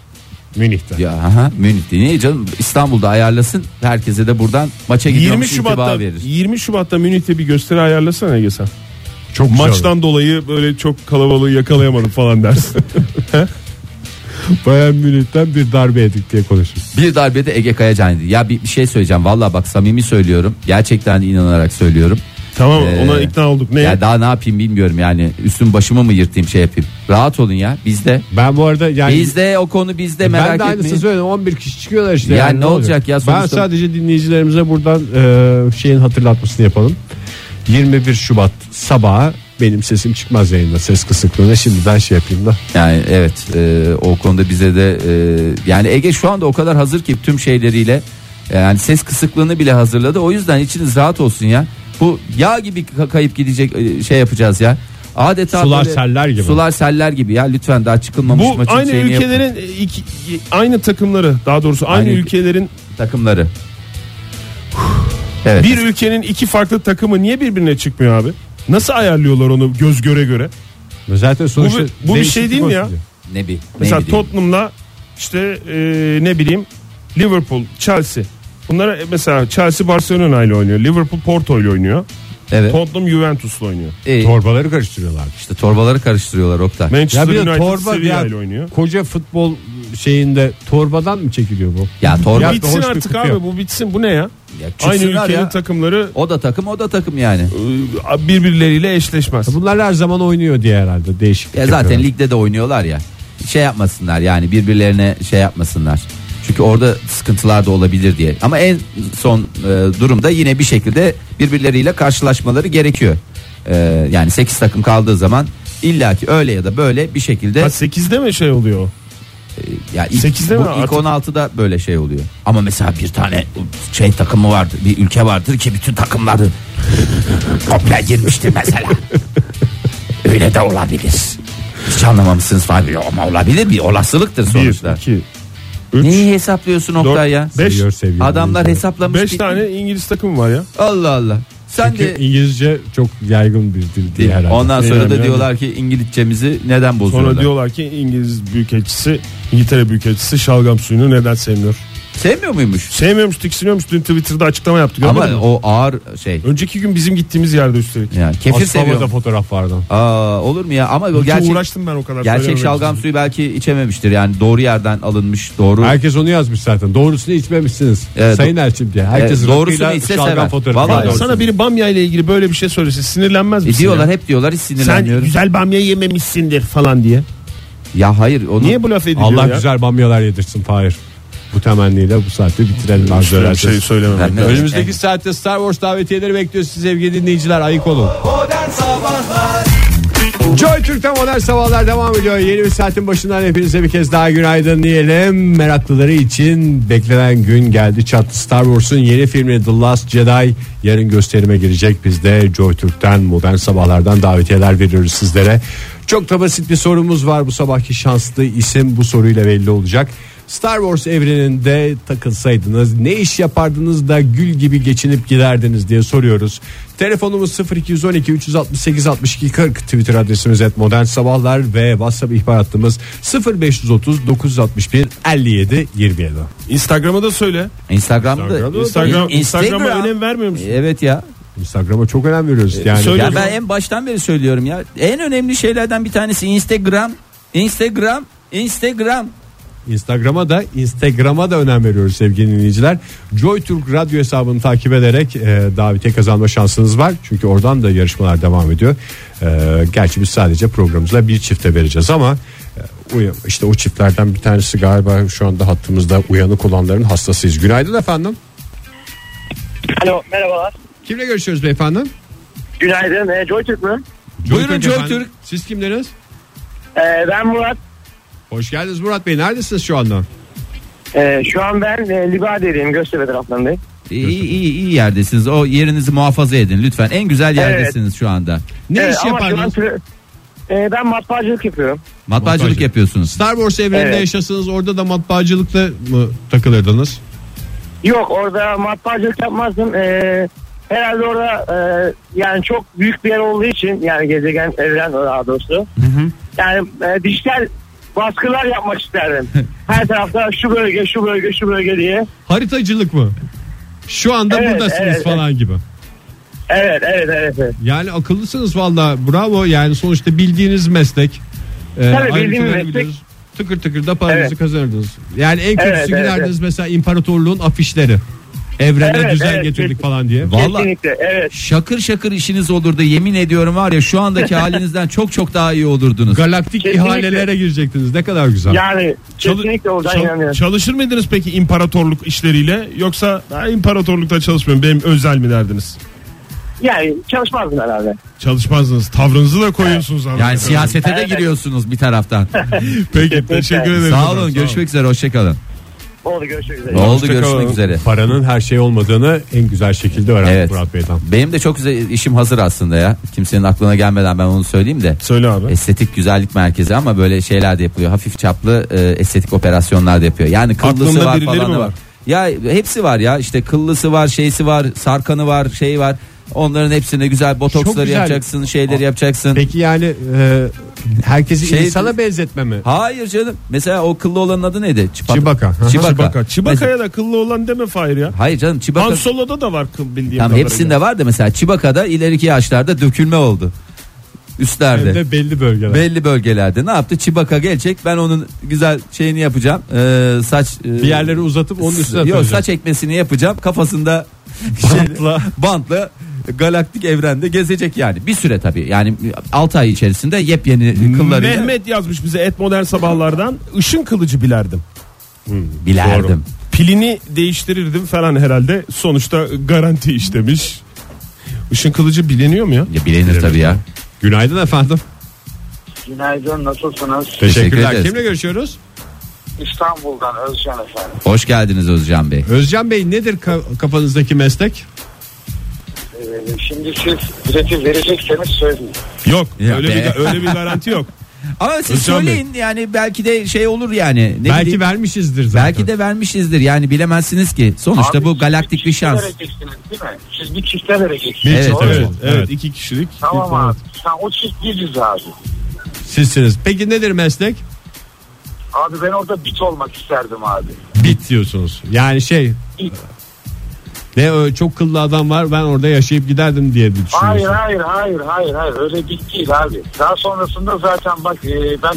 D: Münih'te.
B: Ya aha, Münih değil. Niye canım İstanbul'da ayarlasın. Herkese de buradan maça
E: 20
B: gidiyormuş
E: Şubat'ta
B: intiba verir.
E: 20 Şubat'ta Münih'te bir gösteri ayarlasana Ege sen.
D: Çok güzel
E: Maçtan dolayı böyle çok kalabalığı yakalayamadım falan dersin.
D: olur. Bayern Münih'ten bir darbe yedik diye konuşur.
B: Bir darbede Ege Kayacan dedi. Ya bir, bir şey söyleyeceğim. Valla bak samimi söylüyorum. Gerçekten inanarak söylüyorum.
E: tamam
B: Ee,
E: ona ikna olduk. Ne?
B: Ya daha ne yapayım bilmiyorum yani. Üstüm başımı mı yırtayım şey yapayım. Rahat olun ya. Bizde.
D: Ben bu arada yani
B: Bizde o konu bizde
D: ben
B: merak
D: de aynısını
B: etmeyin.
D: söyledim 11 kişi çıkıyorlar işte.
B: Yani ne olacak ya
D: Ben
B: sonuçta?
D: sadece dinleyicilerimize buradan e, şeyin hatırlatmasını yapalım. 21 Şubat sabahı benim sesim çıkmaz yayında ses kısıklığına şimdiden şey yapayım da.
B: Yani evet e, o konuda bize de e, yani Ege şu anda o kadar hazır ki tüm şeyleriyle e, yani ses kısıklığını bile hazırladı. O yüzden içiniz rahat olsun ya. Bu yağ gibi ka- kayıp gidecek e, şey yapacağız ya. Adeta
D: Sular seller gibi.
B: Sular seller gibi ya lütfen daha çıkılmamış
E: Bu
B: maçın
E: aynı
B: şeyini yapın.
E: ülkelerin iki, aynı takımları daha doğrusu aynı,
B: Aynı ülke-
E: ülkelerin
B: takımları. Evet.
E: bir ülkenin iki farklı takımı niye birbirine çıkmıyor abi? Nasıl ayarlıyorlar onu göz göre göre?
D: Zaten sonuçta
E: Bu bir- bu bir
D: değişiklik
E: şey değil mi ya?
D: olsun diye.
B: ne bi- ne
E: Mesela
B: bileyim.
E: Tottenham'la işte e, ne bileyim Liverpool, Chelsea. Bunlara e, mesela Chelsea Barcelona ile oynuyor. Liverpool Porto ile oynuyor.
B: evet.
E: Tottenham Juventus'la oynuyor.
B: İyi.
D: Torbaları karıştırıyorlar.
B: İşte torbaları karıştırıyorlar Oktay.
E: Manchester
D: Ya bir de
E: United
D: torba
E: Sevilla
D: ya
E: ile oynuyor.
D: koca futbol şeyinde torbadan mı çekiliyor bu?
B: Ya torba
D: Ya-
E: Bitsin
D: hoş bir
E: artık
D: kutu
E: abi
D: yok.
E: bu bitsin bu ne ya?
B: Ya
E: Aynı
B: çıksınlar
E: ülkenin
B: ya.
E: takımları
B: o da takım o da takım yani.
E: e, birbirleriyle eşleşmez.
D: Bunlar her zaman oynuyor diye herhalde değişik.
B: Ya zaten ligde de oynuyorlar ya. Şey yapmasınlar yani birbirlerine şey yapmasınlar. Çünkü orada sıkıntılar da olabilir diye. Ama en son e, durumda yine bir şekilde birbirleriyle karşılaşmaları gerekiyor. E, yani 8 takım kaldığı zaman illaki öyle ya da böyle bir şekilde
E: Ha 8'de mi şey oluyor? o?
B: ya ilk,
E: sekizde
B: bu
E: mi artık?
B: ilk 16'da böyle şey oluyor. Ama mesela bir tane şey takımı vardır, bir ülke vardır ki bütün takımları komple girmiştir mesela. Öyle de olabilir. Hiç anlamamışsınız Fahri ama olabilir bir olasılıktır sonuçta.
E: 1, 2,
B: Neyi hesaplıyorsun Oktay ya?
E: beş.
D: Seviyor, seviyor.
B: Adamlar hesaplamış.
E: 5
B: bir-
E: tane İngiliz takımı var ya.
B: Allah Allah. Sen
D: Çünkü
B: de
D: İngilizce çok yaygın bir dil diye herhalde.
B: Ondan sonra
E: Bilmiyorum
B: da
E: ya.
B: diyorlar ki İngilizcemizi neden
E: Sonra
B: bozuyorlar?
E: diyorlar ki İngiliz büyükelçisi İngiltere büyükelçisi şalgam suyunu neden sevmiyor?
B: Sevmiyor muymuş?
E: Sevmiyormuş tiksiniyormuş dün Twitter'da açıklama yaptı gördün
B: Ama
E: mü?
B: o ağır şey.
E: Önceki gün bizim gittiğimiz yerde üstelik.
B: Yani kefir
D: Asfava'da
B: seviyor.
D: fotoğraflardan.
B: Aa, olur mu ya? Ama o
E: Bütün
B: gerçek
E: uğraştım ben o kadar.
B: Gerçek
E: söylememek
B: şalgam
E: için.
B: suyu belki içememiştir yani doğru yerden alınmış doğru. E,
D: Herkes onu yazmış zaten. Doğrusunu içmemişsiniz.
B: Evet.
D: Sayın Elçim diye. Herkes
B: Evet, Ee, doğrusunu
D: rakıyla
B: içse
D: şalgam
B: sever.
D: fotoğrafı.
B: Vallahi
D: Doğrusu.
E: Sana biri bamya ile ilgili böyle bir şey söylese sinirlenmez
B: E
E: misin?
B: diyorlar
E: ya?
B: hep diyorlar hiç
E: Sen
B: sinirlenmiyorum.
E: güzel bamya yememişsindir falan diye.
B: Ya hayır onu
E: Niye bu laf ediliyor
D: Allah
E: şey ya?
D: güzel bamyalar yedirsin Fahir. Bu temenniyle bu saatte bitirelim. Arzu
E: Şöyle bir
D: ederseniz.
E: şey söylememek.
B: Ben de-
E: lazım.
D: Önümüzdeki saatte Star Wars davetiyeleri bekliyor sizi sevgili dinleyiciler. Ayık olun. Joy Türk'te modern sabahlar devam ediyor. Yeni bir saatin başından hepinize bir kez daha günaydın diyelim. Meraklıları için beklenen gün geldi. Çat Star Wars'un yeni filmi The Last Jedi yarın gösterime girecek. Biz de Joy Türk'ten modern sabahlardan davetiyeler veriyoruz sizlere. Çok da basit bir sorumuz var. Bu sabahki şanslı isim bu soruyla belli olacak. Star Wars evreninde takılsaydınız ne iş yapardınız da gül gibi geçinip giderdiniz diye soruyoruz. Telefonumuz 0212 368 62 40 Twitter adresimiz et modern sabahlar ve WhatsApp ihbar hattımız 0530 961 57 27.
E: Instagram'a da söyle.
B: Instagram'da
D: Instagram'da-
E: Instagram,
B: İn- Instagram.
E: Instagram'a önem vermiyor musun?
B: Evet ya.
D: Instagram'a çok önem veriyoruz. Yani
E: söyle-
B: Ya
E: Öyle
B: ben
E: mi?
B: en baştan beri söylüyorum ya. En önemli şeylerden bir tanesi Instagram. Instagram. Instagram.
D: Instagram'a da Instagram'a da önem veriyoruz sevgili dinleyiciler. Joy Türk radyo hesabını takip ederek e, davetiye kazanma şansınız var. Çünkü oradan da yarışmalar devam ediyor. E, gerçi biz sadece programımızla bir çifte vereceğiz ama e, uya- işte o çiftlerden bir tanesi galiba şu anda hattımızda uyanık olanların hastasıyız. Günaydın efendim.
F: Alo merhabalar.
D: Kimle görüşüyoruz beyefendi?
F: Günaydın. E, Joy Türk mü?
B: Buyurun Joy
D: efendim.
B: Türk.
D: Siz kimleriniz?
F: E, ben Murat.
D: Hoş geldiniz Murat Bey. Neredesiniz şu anda?
F: E, şu an ben e, Libade'deyim. Göztepe taraflarındayım.
B: İyi, iyi, iyi yerdesiniz. O yerinizi muhafaza edin lütfen. En güzel yerdesiniz şu anda.
D: Ne
F: E,
D: iş
F: ama şu an
D: yapardınız?
F: tra- Ee, ben matbaacılık yapıyorum.
B: Matbaacılık
D: Matbaacılık.
B: yapıyorsunuz.
D: Star Wars evreninde
F: Evet.
D: yaşasanız orada da matbaacılıkla mı takılırdınız?
F: Yok orada matbaacılık yapmazdım. Ee, herhalde orada e, yani çok büyük bir yer olduğu için yani gezegen evren daha doğrusu. Yani e, dijital baskılar yapmak isterdim. Her tarafta şu bölge şu bölge şu bölge diye.
D: Haritacılık mı? Şu anda
F: Evet,
D: buradasınız
F: evet,
D: falan gibi.
F: Evet evet evet. evet.
D: Yani akıllısınız valla bravo yani sonuçta bildiğiniz meslek. Ee,
F: Tabii bildiğim
D: ayrıntıları
F: meslek.
D: bilir. Tıkır tıkır da paranızı
F: Evet.
D: kazanırdınız. Yani en kötüsü
F: Evet, evet,
D: giderdiniz mesela imparatorluğun afişleri. Evrene
F: Evet,
D: düzen
F: evet,
D: getirdik
F: kesin.
D: falan diye.
B: Vallahi
F: Kesinlikle evet.
B: şakır şakır işiniz olurdu yemin ediyorum var ya şu andaki halinizden çok çok daha iyi olurdunuz.
D: Galaktik
F: Kesinlikle.
D: ihalelere girecektiniz ne kadar güzel.
F: Yani
E: Çalı-
F: kesinlikle oradan
E: çal-
F: inanıyorum.
E: Çalışır mıydınız peki imparatorluk işleriyle yoksa ben imparatorlukta çalışmıyorum benim özel mi derdiniz?
F: Yani çalışmazdım herhalde.
E: Çalışmazdınız tavrınızı da koyuyorsunuz. anladığım
B: Yani
E: kadarıyla.
B: siyasete de giriyorsunuz bir taraftan.
E: Peki teşekkür ederim.
B: Sağ
E: efendim,
B: olun görüşmek üzere hoşçakalın.
F: Oldu görüşmek üzere.
B: Oldu
E: Hoşça
B: görüşmek
E: kalın.
B: üzere.
D: Paranın her şey olmadığını en güzel şekilde öğrendik
B: Evet.
D: Murat Bey'den.
B: Benim de çok güzel işim hazır aslında ya. Kimsenin aklına gelmeden ben onu söyleyeyim de.
E: Söyle abi.
B: Estetik güzellik merkezi ama böyle şeyler de yapılıyor. Hafif çaplı e, estetik operasyonlar da yapıyor. Yani kıllısı
E: Aklında
B: var
E: birileri
B: falan
E: mi
B: da var.
E: var?
B: Ya hepsi var ya. İşte kıllısı var, şeysi var, sarkanı var, şey var. Onların hepsine güzel botoksları
D: güzel.
B: yapacaksın, şeyleri yapacaksın.
D: Peki yani e, herkesi
B: Şey-
D: insana benzetme mi?
B: Hayır canım. Mesela o kıllı olanın adı neydi? Çipata.
D: Chewbacca.
B: Chewbacca.
E: Çibaka.
B: Mesela-
E: Çibaka'ya da kıllı olan deme Fahir ya.
B: Hayır canım
E: Han
B: Çibaka.
E: Solo'da da var kıl bildiğim
B: Tam
E: kadarıyla.
B: hepsinde var da mesela Çibaka'da ileriki yaşlarda dökülme oldu. Üstlerde.
D: Hem de belli bölgeler.
B: Belli bölgelerde ne yaptı? Çibaka gelecek. Ben onun güzel şeyini yapacağım. Ee, saç e,
D: bir yerleri uzatıp onun üstüne
B: Yok
D: atacak.
B: saç ekmesini yapacağım. Kafasında
D: Bantla.
B: şey- bantla galaktik evrende gezecek yani. Bir süre tabii. Yani 6 ay içerisinde yepyeni kıllarıyla
E: Mehmet yazmış bize et modern sabahlardan ışın kılıcı bilerdim.
B: bilerdim.
E: Doğru. Pilini değiştirirdim falan herhalde. Sonuçta garanti iş demiş. Işın kılıcı biliniyor mu ya?
B: Ya bilinir tabii ya.
D: Günaydın efendim.
G: Günaydın nasılsınız?
B: Teşekkür ederiz.
D: Kimle görüşüyoruz?
G: İstanbul'dan Özcan efendim.
B: Hoş geldiniz Özcan Bey.
D: Özcan Bey nedir ka- kafanızdaki meslek?
G: Ee, şimdi siz bileti verecekseniz söyleyin.
E: Yok.
B: Ya
E: öyle,
B: be.
E: bir, öyle bir garanti yok.
B: Ama siz
E: Özcan
B: söyleyin yani belki de şey olur yani. Ne
D: Belki
B: bileyim,
D: vermişizdir zaten.
B: belki de vermişizdir yani bilemezsiniz ki. Sonuçta
G: Abi,
B: bu
G: siz
B: galaktik bir
G: çifte
B: şans.
G: vereceksiniz değil mi? Siz bir çifte vereceksiniz.
B: Evet,
G: Doğru.
B: evet.
E: evet,
D: Evet.
E: evet. iki kişilik.
G: Tamam abi. Sen o çift biziz abi.
D: sizsiniz. Peki nedir meslek?
G: Abi ben orada bit olmak isterdim abi.
D: Bit diyorsunuz. Yani şey
G: Bit.
D: ne ö- çok kıllı adam var ben orada yaşayıp giderdim diye bir
G: Hayır
D: düşünüyorsun.
G: hayır hayır hayır hayır öyle bit değil abi. Daha sonrasında zaten bak e, ben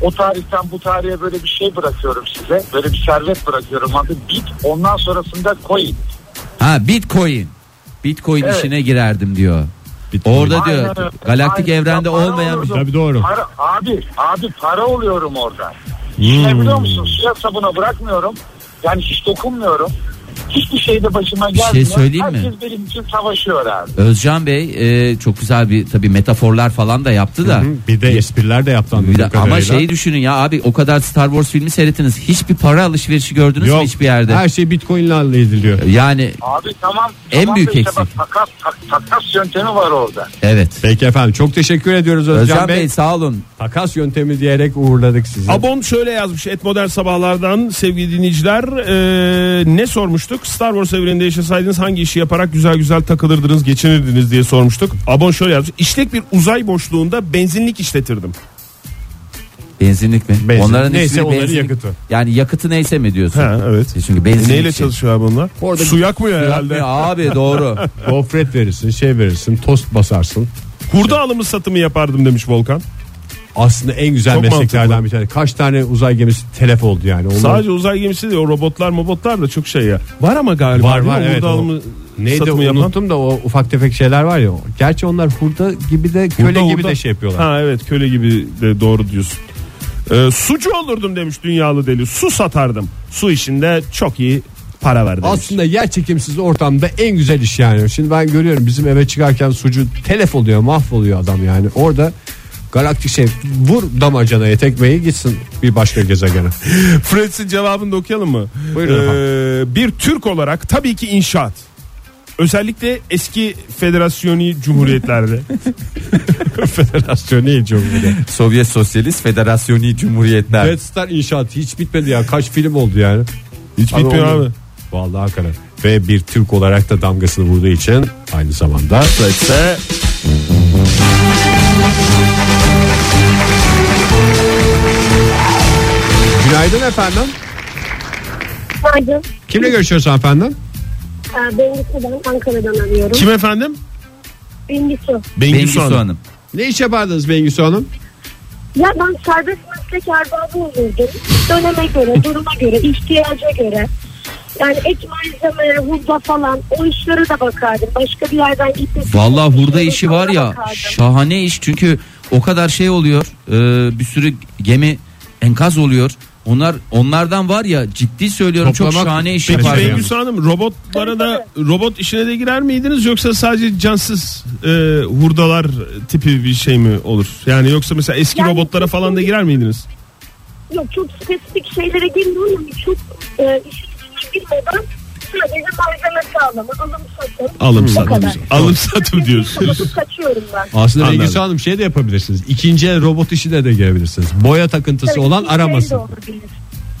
G: o tarihten bu tarihe böyle bir şey bırakıyorum size. Böyle bir servet bırakıyorum adı bit. Ondan sonrasında coin.
B: Ha Bitcoin. Bitcoin
G: Evet.
B: işine girerdim diyor.
D: Bitcoin.
B: Orada
G: Aynen
B: diyor
G: öyle.
B: galaktik
G: Aynen.
B: evrende
G: Ya para
B: olmayan bir
G: olurdu.
D: Tabii doğru.
G: Para, abi abi para oluyorum orada.
D: Hmm.
G: Ne biliyor musun? Suya sabuna bırakmıyorum. Yani hiç dokunmuyorum. Hiçbir şey de başıma
B: şey
G: gelmiyor.
B: söyleyeyim mi?
G: Herkes benim için savaşıyor abi.
B: Özcan Bey e, çok güzel bir tabii metaforlar falan da yaptı da.
D: Hı, Bir de espriler de yaptı
B: Bir de-
D: anladığım
B: ama
D: kadarıyla.
B: şey düşünün ya abi o kadar Star Wars filmi seyrettiniz. Hiçbir para alışverişi gördünüz mü
D: Yok,
B: hiçbir yerde?
D: Her şey bitcoinle hallediliyor.
B: Yani
G: Abi tamam.
B: En
G: tamam da
B: büyük
G: işte bak
B: eksik.
G: takas, tak, takas yöntemi var orada.
B: evet.
D: Peki efendim çok teşekkür ediyoruz Özcan,
B: Özcan
D: Bey.
B: Bey sağ olun.
D: Takas yöntemi diyerek uğurladık sizi.
E: Abon şöyle yazmış et modern sabahlardan sevgili dinleyiciler Ee, ne sormuştuk Star Wars evreninde yaşasaydınız hangi işi yaparak güzel güzel takılırdınız geçinirdiniz diye sormuştuk Abon şöyle yazmış işlek bir uzay boşluğunda benzinlik işletirdim
B: Benzinlik mi?
D: Benzin.
B: Onların
D: Neyse,
B: ismi
D: onların
B: benzinlik.
D: yakıtı.
B: Yani yakıtı neyse mi diyorsun?
E: Ha, evet.
B: Çünkü benzinlik.
E: neyle
B: şey.
E: çalışıyor abi onlar
D: Orada
E: su yakmıyor herhalde
B: Yapmıyor Abi doğru.
D: Gofret verirsin şey verirsin tost basarsın.
E: hurda alımı satımı yapardım demiş Volkan
D: Aslında en güzel
E: Çok
D: mesleklerden
E: mantıklı.
D: bir tane. Kaç tane uzay gemisi telef oldu yani. Onlar-
E: sadece uzay gemisi değil o robotlar robotlar da çok şey ya var ama galiba
D: Var,
E: değil mi?
D: var,
E: hurda
D: evet, o-
E: alımı
D: Neydi
E: satımı yapan
D: unuttum da o ufak tefek şeyler var ya. Gerçi onlar hurda gibi de köle
E: Hurda,
D: gibi
E: hurda.
D: de şey yapıyorlar.
E: Ha evet köle gibi de doğru diyorsun. Ee, sucu olurdum demiş dünyalı deli. Su satardım. Su işinde çok iyi para ver demiş.
D: Aslında yer çekimsiz ortamda en güzel iş yani. Şimdi ben görüyorum bizim eve çıkarken sucu telef oluyor mahvoluyor adam yani. Orada galaktik şey vur damacanaya tekmeyi gitsin bir başka gezegene.
E: Friends'in cevabını da okuyalım mı?
D: Buyurun
E: Ee, bir Türk olarak tabii ki inşaat. Özellikle eski federasyoni cumhuriyetlerde.
D: Federasyonu Cumhuriyeti.
B: Sovyet Sosyalist Federasyoni Cumhuriyetler.
D: Red Star inşaatı hiç bitmedi ya. Kaç film oldu yani.
E: Hiç
D: Abi
E: bitmiyor
D: olmadı.
E: abi.
D: Vallahi hakikaten. Ve bir Türk olarak da damgasını vurduğu için aynı zamanda
E: Ve
D: Günaydın efendim.
H: Günaydın.
D: Kimle görüşüyoruz efendim?
H: Ee, Bengisu'dan Ankara'dan arıyorum.
E: kim efendim?
H: Bengisu.
B: Bengisu Hanım.
D: Ne iş yapardınız Bengisu Hanım?
H: Ya ben serbest meslek erbabı olurdum. Döneme göre, duruma göre, ihtiyaca göre. Yani ek malzeme, hurda falan o işlere de bakardım. Başka bir yerden gitmesi.
I: Vallahi hurda işi var ya şahane iş çünkü o kadar şey oluyor e, bir sürü gemi enkaz oluyor. Onlar onlardan var ya ciddi söylüyorum çok
D: Toplamak-
I: şahane iş
E: Peki
I: yapar. yani.
E: Bengüsü Hanım robotlara da robot işine de girer miydiniz yoksa sadece cansız e, hurdalar tipi bir şey mi olur? Yani yoksa mesela eski
H: Yani-
E: robotlara falan da girer miydiniz?
H: Yok çok spesifik şeylere girmiyorum. ama Çok e, işin içine girmeden sadece malzeme sağlama, alım satım.
E: Alım
H: O
E: satım.
H: kadar.
E: Alım satım diyorsunuz.
H: Kaçıyorum ben.
D: Aslında
E: Anladım.
D: Bengisu Hanım şey de yapabilirsiniz. İkinci el robot işine de girebilirsiniz. Boya takıntısı
H: Tabii
D: olan
H: bir şey de
D: aramasın.
H: olabilir.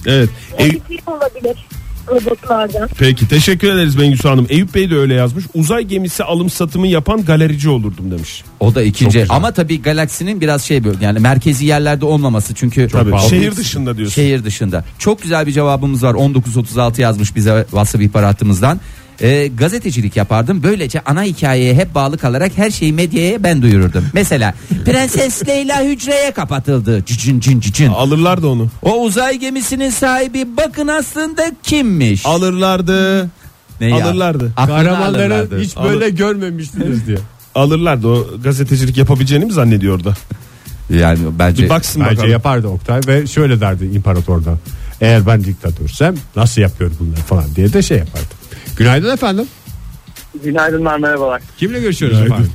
E: Evet. E,
H: Eğitim olabilir robotlardan.
E: peki teşekkür ederiz Bengüsü Hanım. Eyüp Bey de öyle yazmış. Uzay gemisi alım satımı yapan galerici olurdum demiş.
B: O da ikinci. Ama tabii galaksinin biraz şey böyle yani merkezi yerlerde olmaması çünkü
E: Tabii.
B: O-
E: Şehir dışında diyorsun.
B: Şehir dışında. Çok güzel bir cevabımız var. 1936 yazmış bize WhatsApp ihbar hattımızdan. Ee, gazetecilik yapardım. Böylece ana hikayeye hep bağlı kalarak her şeyi medyaya ben duyururdum. Mesela Prenses Leyla hücreye kapatıldı. Cicin cin cicin.
E: Alırlardı onu.
B: O uzay gemisinin sahibi bakın aslında kimmiş?
E: Alırlardı.
B: Ne ya?
E: alırlardı.
B: Aklını
D: Kahramanları
B: alırlardı.
D: hiç böyle görmemiştiniz diye.
E: Alırlardı o gazetecilik yapabileceğini mi zannediyordu?
B: Yani bence
I: E,
E: Bir baksın
D: Bence
E: bakalım.
D: yapardı Oktay ve şöyle derdi imparatordan. Eğer ben diktatörsem nasıl yapıyor bunları falan diye de şey yapardı. Günaydın efendim.
F: Günaydınlar merhabalar.
D: Kimle görüşüyoruz efendim?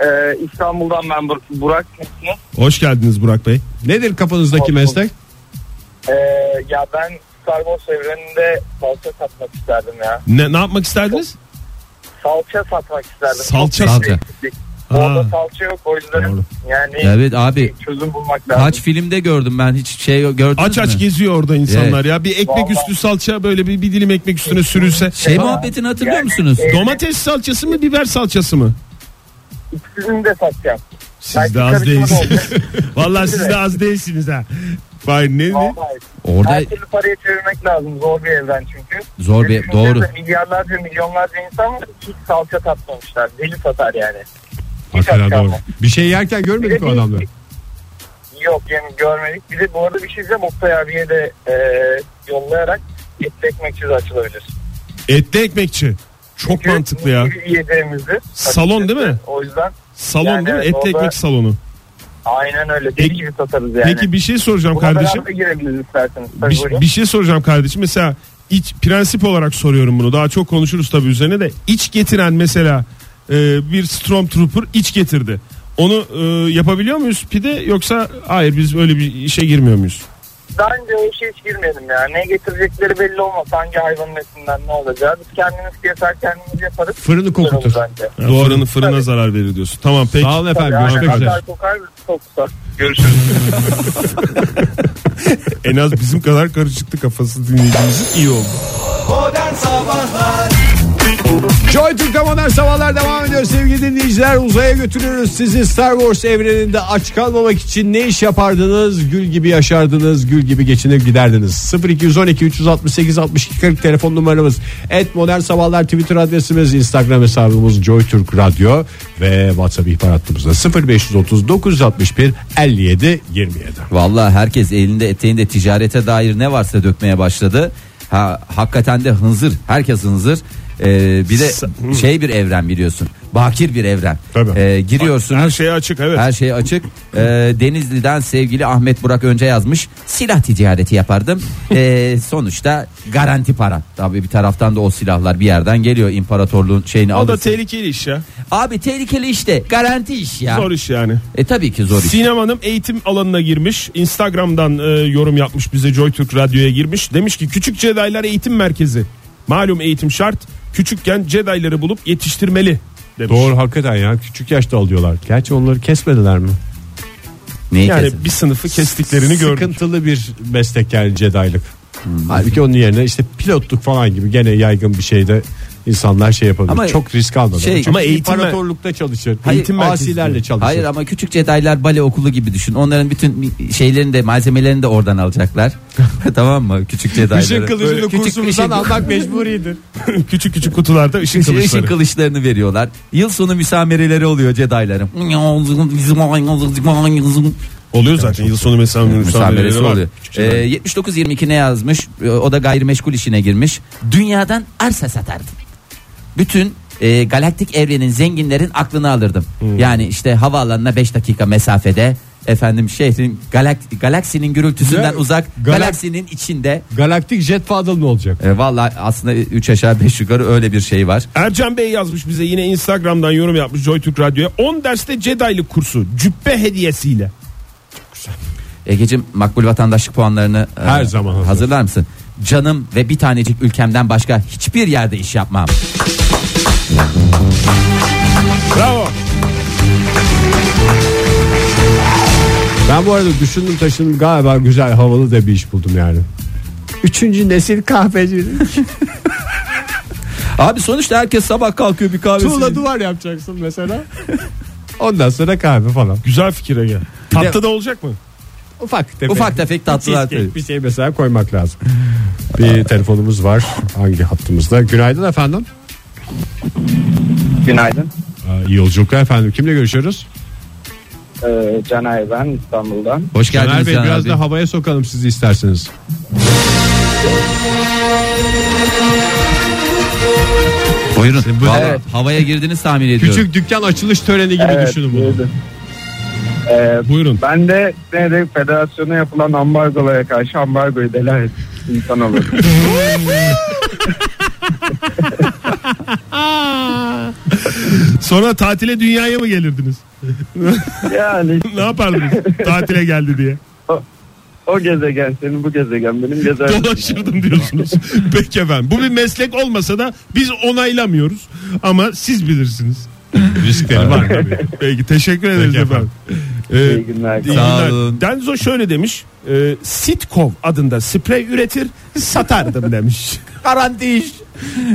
F: Ee, İstanbul'dan ben Bur- Burak. Nasılsınız?
E: Hoş geldiniz Burak Bey.
D: Nedir kafanızdaki meslek?
F: Ee, ya ben Star Wars evreninde salça satmak isterdim ya.
E: Ne, ne yapmak isterdiniz?
F: Salça satmak isterdim.
E: Salça.
F: Çok
I: Salça.
F: eksiklik. Orada
E: Ha.
F: salça yok o yüzden
D: Doğru.
F: yani
I: Evet abi
F: çözüm bulmak lazım.
I: kaç filmde gördüm ben hiç şey gördünüz
E: Aç
I: mü?
E: aç geziyor orada insanlar
I: Evet.
E: ya. Bir ekmek
F: Vallahi.
E: üstü salça böyle bir, bir dilim ekmek üstüne sürülse.
I: Şey muhabbetini hatırlıyor
F: Yani-
I: musunuz?
F: Evet.
E: Domates salçası mı biber salçası mı?
F: İkisini de satacağım.
E: Siz de az değilsiniz. Vallahi siz de az değilsiniz ha. Vay ne ne?
I: Orada
F: Her türlü parayı çevirmek lazım. Zor bir evren çünkü.
I: Zor
F: Ve
I: bir-
F: düşünsenize
I: doğru.
F: Milyarlarca milyonlarca insan var. Hiç salça tatmamışlar. Deli satar yani. Hiç
D: Hakikaten
F: az kalmadı.
D: doğru. Bir şey yerken görmedik o adamları.
F: Yok yani görmedik. Bir de bu arada bir şey diyeceğim. Oktay abiye de e, yollayarak etli ekmekçi de açılabilir.
E: Etli ekmekçi. Çok
F: Çünkü
E: mantıklı ya.
F: bu Yediğimizdir.
E: Salon değil mi?
F: O yüzden
E: Salon
F: Yani
E: değil mi?
F: evet,
E: Etli
F: orada-
E: ekmek salonu.
F: aynen öyle. Deli
E: Peki-
F: gibi satarız yani.
E: Peki bir şey soracağım
F: Buna
E: kardeşim.
F: beraber girebiliriz isterseniz. Tabii
E: Bir,
F: buyurun.
E: bir şey soracağım kardeşim. Mesela iç prensip olarak soruyorum bunu. Daha çok konuşuruz tabii üzerine de. İç getiren mesela e, bir Stormtrooper iç getirdi. Onu e, yapabiliyor muyuz pide yoksa hayır biz öyle bir işe girmiyor muyuz?
F: Bence o işe hiç girmeyelim ya. Ne getirecekleri belli olmaz. Hangi hayvanın etinden ne olacağı. Biz kendimiz keser kendimiz yaparız.
D: Fırını
F: Güzel olur
D: kokutur.
F: Bence.
E: Yani fırını fırına zarar verir diyorsun. Tamam peki.
D: Sağ olun efendim.
F: Yani
D: Görüşmek üzere.
F: kokar kokar çok tutar. Görüşürüz.
E: En az bizim kadar karışıktı kafası dinleyicimizin iyi oldu.
D: Joy Türk'te modern sabahlar devam ediyor sevgili dinleyiciler. Uzaya götürüyoruz sizi Star Wars evreninde aç kalmamak için ne iş yapardınız? Gül gibi yaşardınız, gül gibi geçinip giderdiniz. 0212 368 62 40 telefon numaramız. Et modern sabahlar Twitter adresimiz, Instagram hesabımız Joy Türk Radyo ve WhatsApp ihbar hattımızda 0530 961 57 27.
B: Vallahi herkes elinde eteğinde ticarete dair ne varsa dökmeye başladı. Ha, hakikaten de hınzır. Herkes hınzır. Ee, bir de şey bir evren biliyorsun. Bakir bir evren.
D: Tabii.
B: Ee, giriyorsun.
E: Her şey açık evet.
B: Her şey açık. Ee, Denizli'den sevgili Ahmet Burak önce yazmış. Silah ticareti yapardım. Ee, sonuçta garanti para. Tabii bir taraftan da o silahlar bir yerden geliyor imparatorluğun şeyini
E: O da
B: alırsın.
E: tehlikeli iş ya.
B: Abi tehlikeli işte. Garanti iş ya.
E: Zor iş yani.
B: E tabii ki zor iş.
E: Sinem Hanım eğitim alanına girmiş. Instagram'dan e, yorum yapmış bize JoyTürk Radyo'ya girmiş. Demiş ki Küçük Cedaylar Eğitim Merkezi. Malum eğitim şart. küçükken Jedi'ları bulup yetiştirmeli demiş.
D: Doğru hakikaten ya küçük yaşta alıyorlar. Gerçi onları kesmediler mi?
B: Neyi
E: Yani
B: kesin?
E: bir sınıfı kestiklerini gördük.
D: Sıkıntılı bir meslek yani Jedi'lık. Halbuki onun yerine işte pilotluk falan gibi gene yaygın bir şeyde insanlar şey yapabilir.
B: Ama
D: çok risk almadan.
B: şey-
D: Çünkü
E: Ama eğitim-
D: imparatorlukta çalışır.
B: Hayır,
D: eğitim asilerle çalışır.
B: Hayır ama küçük Jedi'lar bale okulu gibi düşün. Onların bütün şeylerini de malzemelerini de oradan alacaklar. tamam mı? Küçük Jedi'ları.
D: Işın
B: Böyle
D: kılıcını
B: küçük
D: kursumuzdan
B: ışın-
D: almak mecburiydi.
E: küçük küçük kutularda ışın
B: Işın
E: kılıçları.
B: kılıçlarını. veriyorlar. Yıl sonu müsamereleri oluyor Jedi'ların.
E: Oluyor zaten yıl sonu mesela
B: Müsameresi
E: müsamereleri var.
B: oluyor. Ee, 79-22 ne yazmış? Ee, O da gayrimeşgul işine girmiş. Dünyadan arsa satardım. Bütün e, galaktik evrenin zenginlerin aklını alırdım.
D: Hmm.
B: Yani işte havaalanına 5 dakika mesafede efendim şehrin galak- galaksinin gürültüsünden
D: Ya,
B: uzak
D: galak-
B: galaksinin içinde
D: Galaktik jet paddle ne olacak?
I: E, Valla aslında 3 aşağı 5 yukarı öyle bir şey var.
E: Ercan Bey yazmış bize yine Instagram'dan yorum yapmış Joy Türk Radyo'ya. 10 derste Jedi'lık kursu cübbe hediyesiyle.
B: Egeciğim makbul vatandaşlık puanlarını e,
D: Her zaman hazır.
B: hazırlar mısın? Canım ve bir tanecik ülkemden başka hiçbir yerde iş yapmam.
E: Bravo.
D: Ben bu arada düşündüm taşındım galiba güzel havalı da bir iş buldum yani. Üçüncü nesil kahvecilik.
B: Abi sonuçta herkes sabah kalkıyor bir
D: Tuğla
B: kahvesini
D: duvar yapacaksın mesela. Ondan sonra kahve falan.
E: Güzel fikire gel. Tatlı da olacak mı?
D: Ufak tefek.
B: Ufak tefek tatlılar.
D: Cheesecake bir şey mesela koymak lazım. Bir telefonumuz var. Hangi hattımızda? Günaydın efendim.
F: Günaydın.
D: Aa, iyi yolculuklar efendim. Kimle görüşüyoruz?
F: Ee, Canay ben İstanbul'dan.
B: Hoş
D: Caner
B: geldiniz
D: Bey
B: Caner
D: biraz
B: Bey.
D: da havaya sokalım sizi isterseniz.
B: Buyurun.
D: Şimdi bu-
B: Vallahi
D: Evet.
B: Havaya girdiniz tahmin ediyorum.
D: Küçük dükkan açılış töreni gibi
F: Evet,
D: düşünün bunu.
F: duydum. Ee,
D: Buyurun.
F: ben de Senede federasyona yapılan ambargolara karşı ambargoyu delen insan olur.
E: Sonra tatile dünyaya mı gelirdiniz?
F: yani
E: ne yapardınız tatile geldi diye?
F: o gezegen senin bu gezegen benim gezegenim.
E: Dolaşırdım diyorsunuz. Peki efendim. Bu bir meslek olmasa da biz onaylamıyoruz. Ama siz bilirsiniz. Riskleri var tabii. Peki teşekkür ederiz efendim. Ee,
F: İyi günler.
E: iyi
B: Sağ
E: günler.
B: olun.
E: Denzo şöyle demiş. E, Sitkov adında sprey üretir satardım demiş.
B: garanti iş.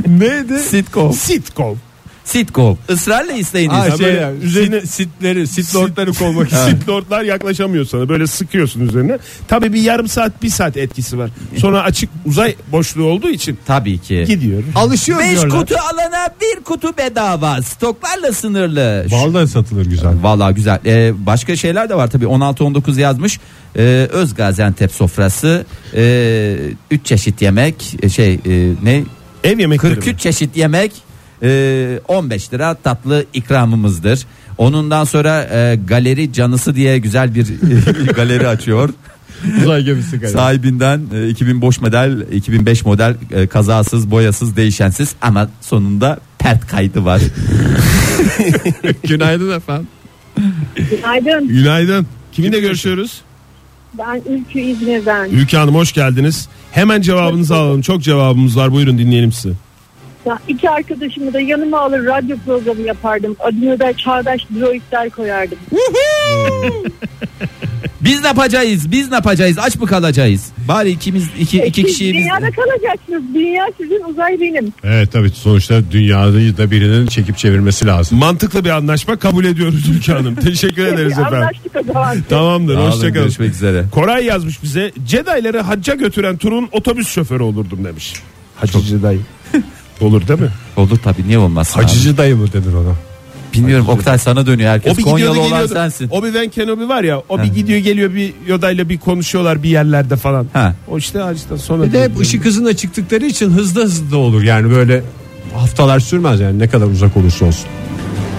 E: Neydi?
B: Sitcom.
E: Sitkov.
B: Sitcom. Israrla isteyiniz.
D: Ha,
E: şey
D: böyle
E: ya,
D: üzerine sitleri, sit lordları kovmak için.
E: Sit lordlar yaklaşamıyor sana. Böyle sıkıyorsun üzerine. Tabii bir yarım saat bir saat etkisi var. Sonra açık uzay boşluğu olduğu için
B: Tabii ki.
E: gidiyor.
D: Alışıyor
B: 5
D: diyorlar.
B: kutu alana bir kutu bedava. Stoklarla sınırlı. Şu-
D: Vallahi satılır güzel.
B: Vallahi güzel. Ee, başka şeyler de var tabii. 16-19 yazmış. Ee, Öz Gaziantep sofrası. 3 çeşit yemek. Ee, şey e, ne?
E: Ev yemekleri.
B: 43 çeşit yemek e, 15 lira tatlı ikramımızdır. Onundan sonra e, galeri canısı diye güzel bir galeri açıyor.
D: Uzay gemisi galiba.
I: Sahibinden e, 2000 boş model, 2005 model e, kazasız, boyasız, değişensiz ama sonunda pert kaydı var.
D: Günaydın efendim.
H: Günaydın.
E: Günaydın. Kiminle görüşüyoruz?
H: Ben Ülkü İzmir'den.
E: Ülke Hanım hoş geldiniz. Hemen cevabınızı alalım. Çok cevabımız var. Buyurun dinleyelim sizi.
H: Ya iki arkadaşımı da yanıma alır radyo programı yapardım. Adını da Çağdaş Droidler koyardım.
B: Biz ne yapacağız? Biz ne yapacağız? Aç mı kalacağız? Bari ikimiz iki, iki
H: Siz
B: kişiyi biz...
H: Dünyada kalacaksınız. Dünya sizin uzay benim.
D: Evet tabii sonuçta dünyayı da birinin çekip çevirmesi lazım.
E: Mantıklı bir anlaşma kabul ediyoruz Ülke Hanım. Teşekkür ederiz efendim.
H: Anlaştık o zaman.
E: Tamamdır.
I: Sağ olun,
E: Hoşçakalın.
I: Görüşmek üzere.
E: Koray yazmış bize. Jedi'ları hacca götüren turun otobüs şoförü olurdum demiş. Hacı Jedi. Olur değil mi?
I: Olur tabii niye olmaz.
D: Hacıcı dayı mı dedin ona?
I: Abi. Bilmiyorum Oktay sana dönüyor herkes. Konyalı olan sensin.
E: O bir Ben Kenobi var ya. O bir gidiyor geliyor bir Yoda'yla bir konuşuyorlar bir yerlerde falan.
I: Ha.
E: O işte hacıdan sonra.
D: Bir de hep ışık hızına çıktıkları için hızlı hızlı olur yani böyle haftalar sürmez yani ne kadar uzak olursa olsun.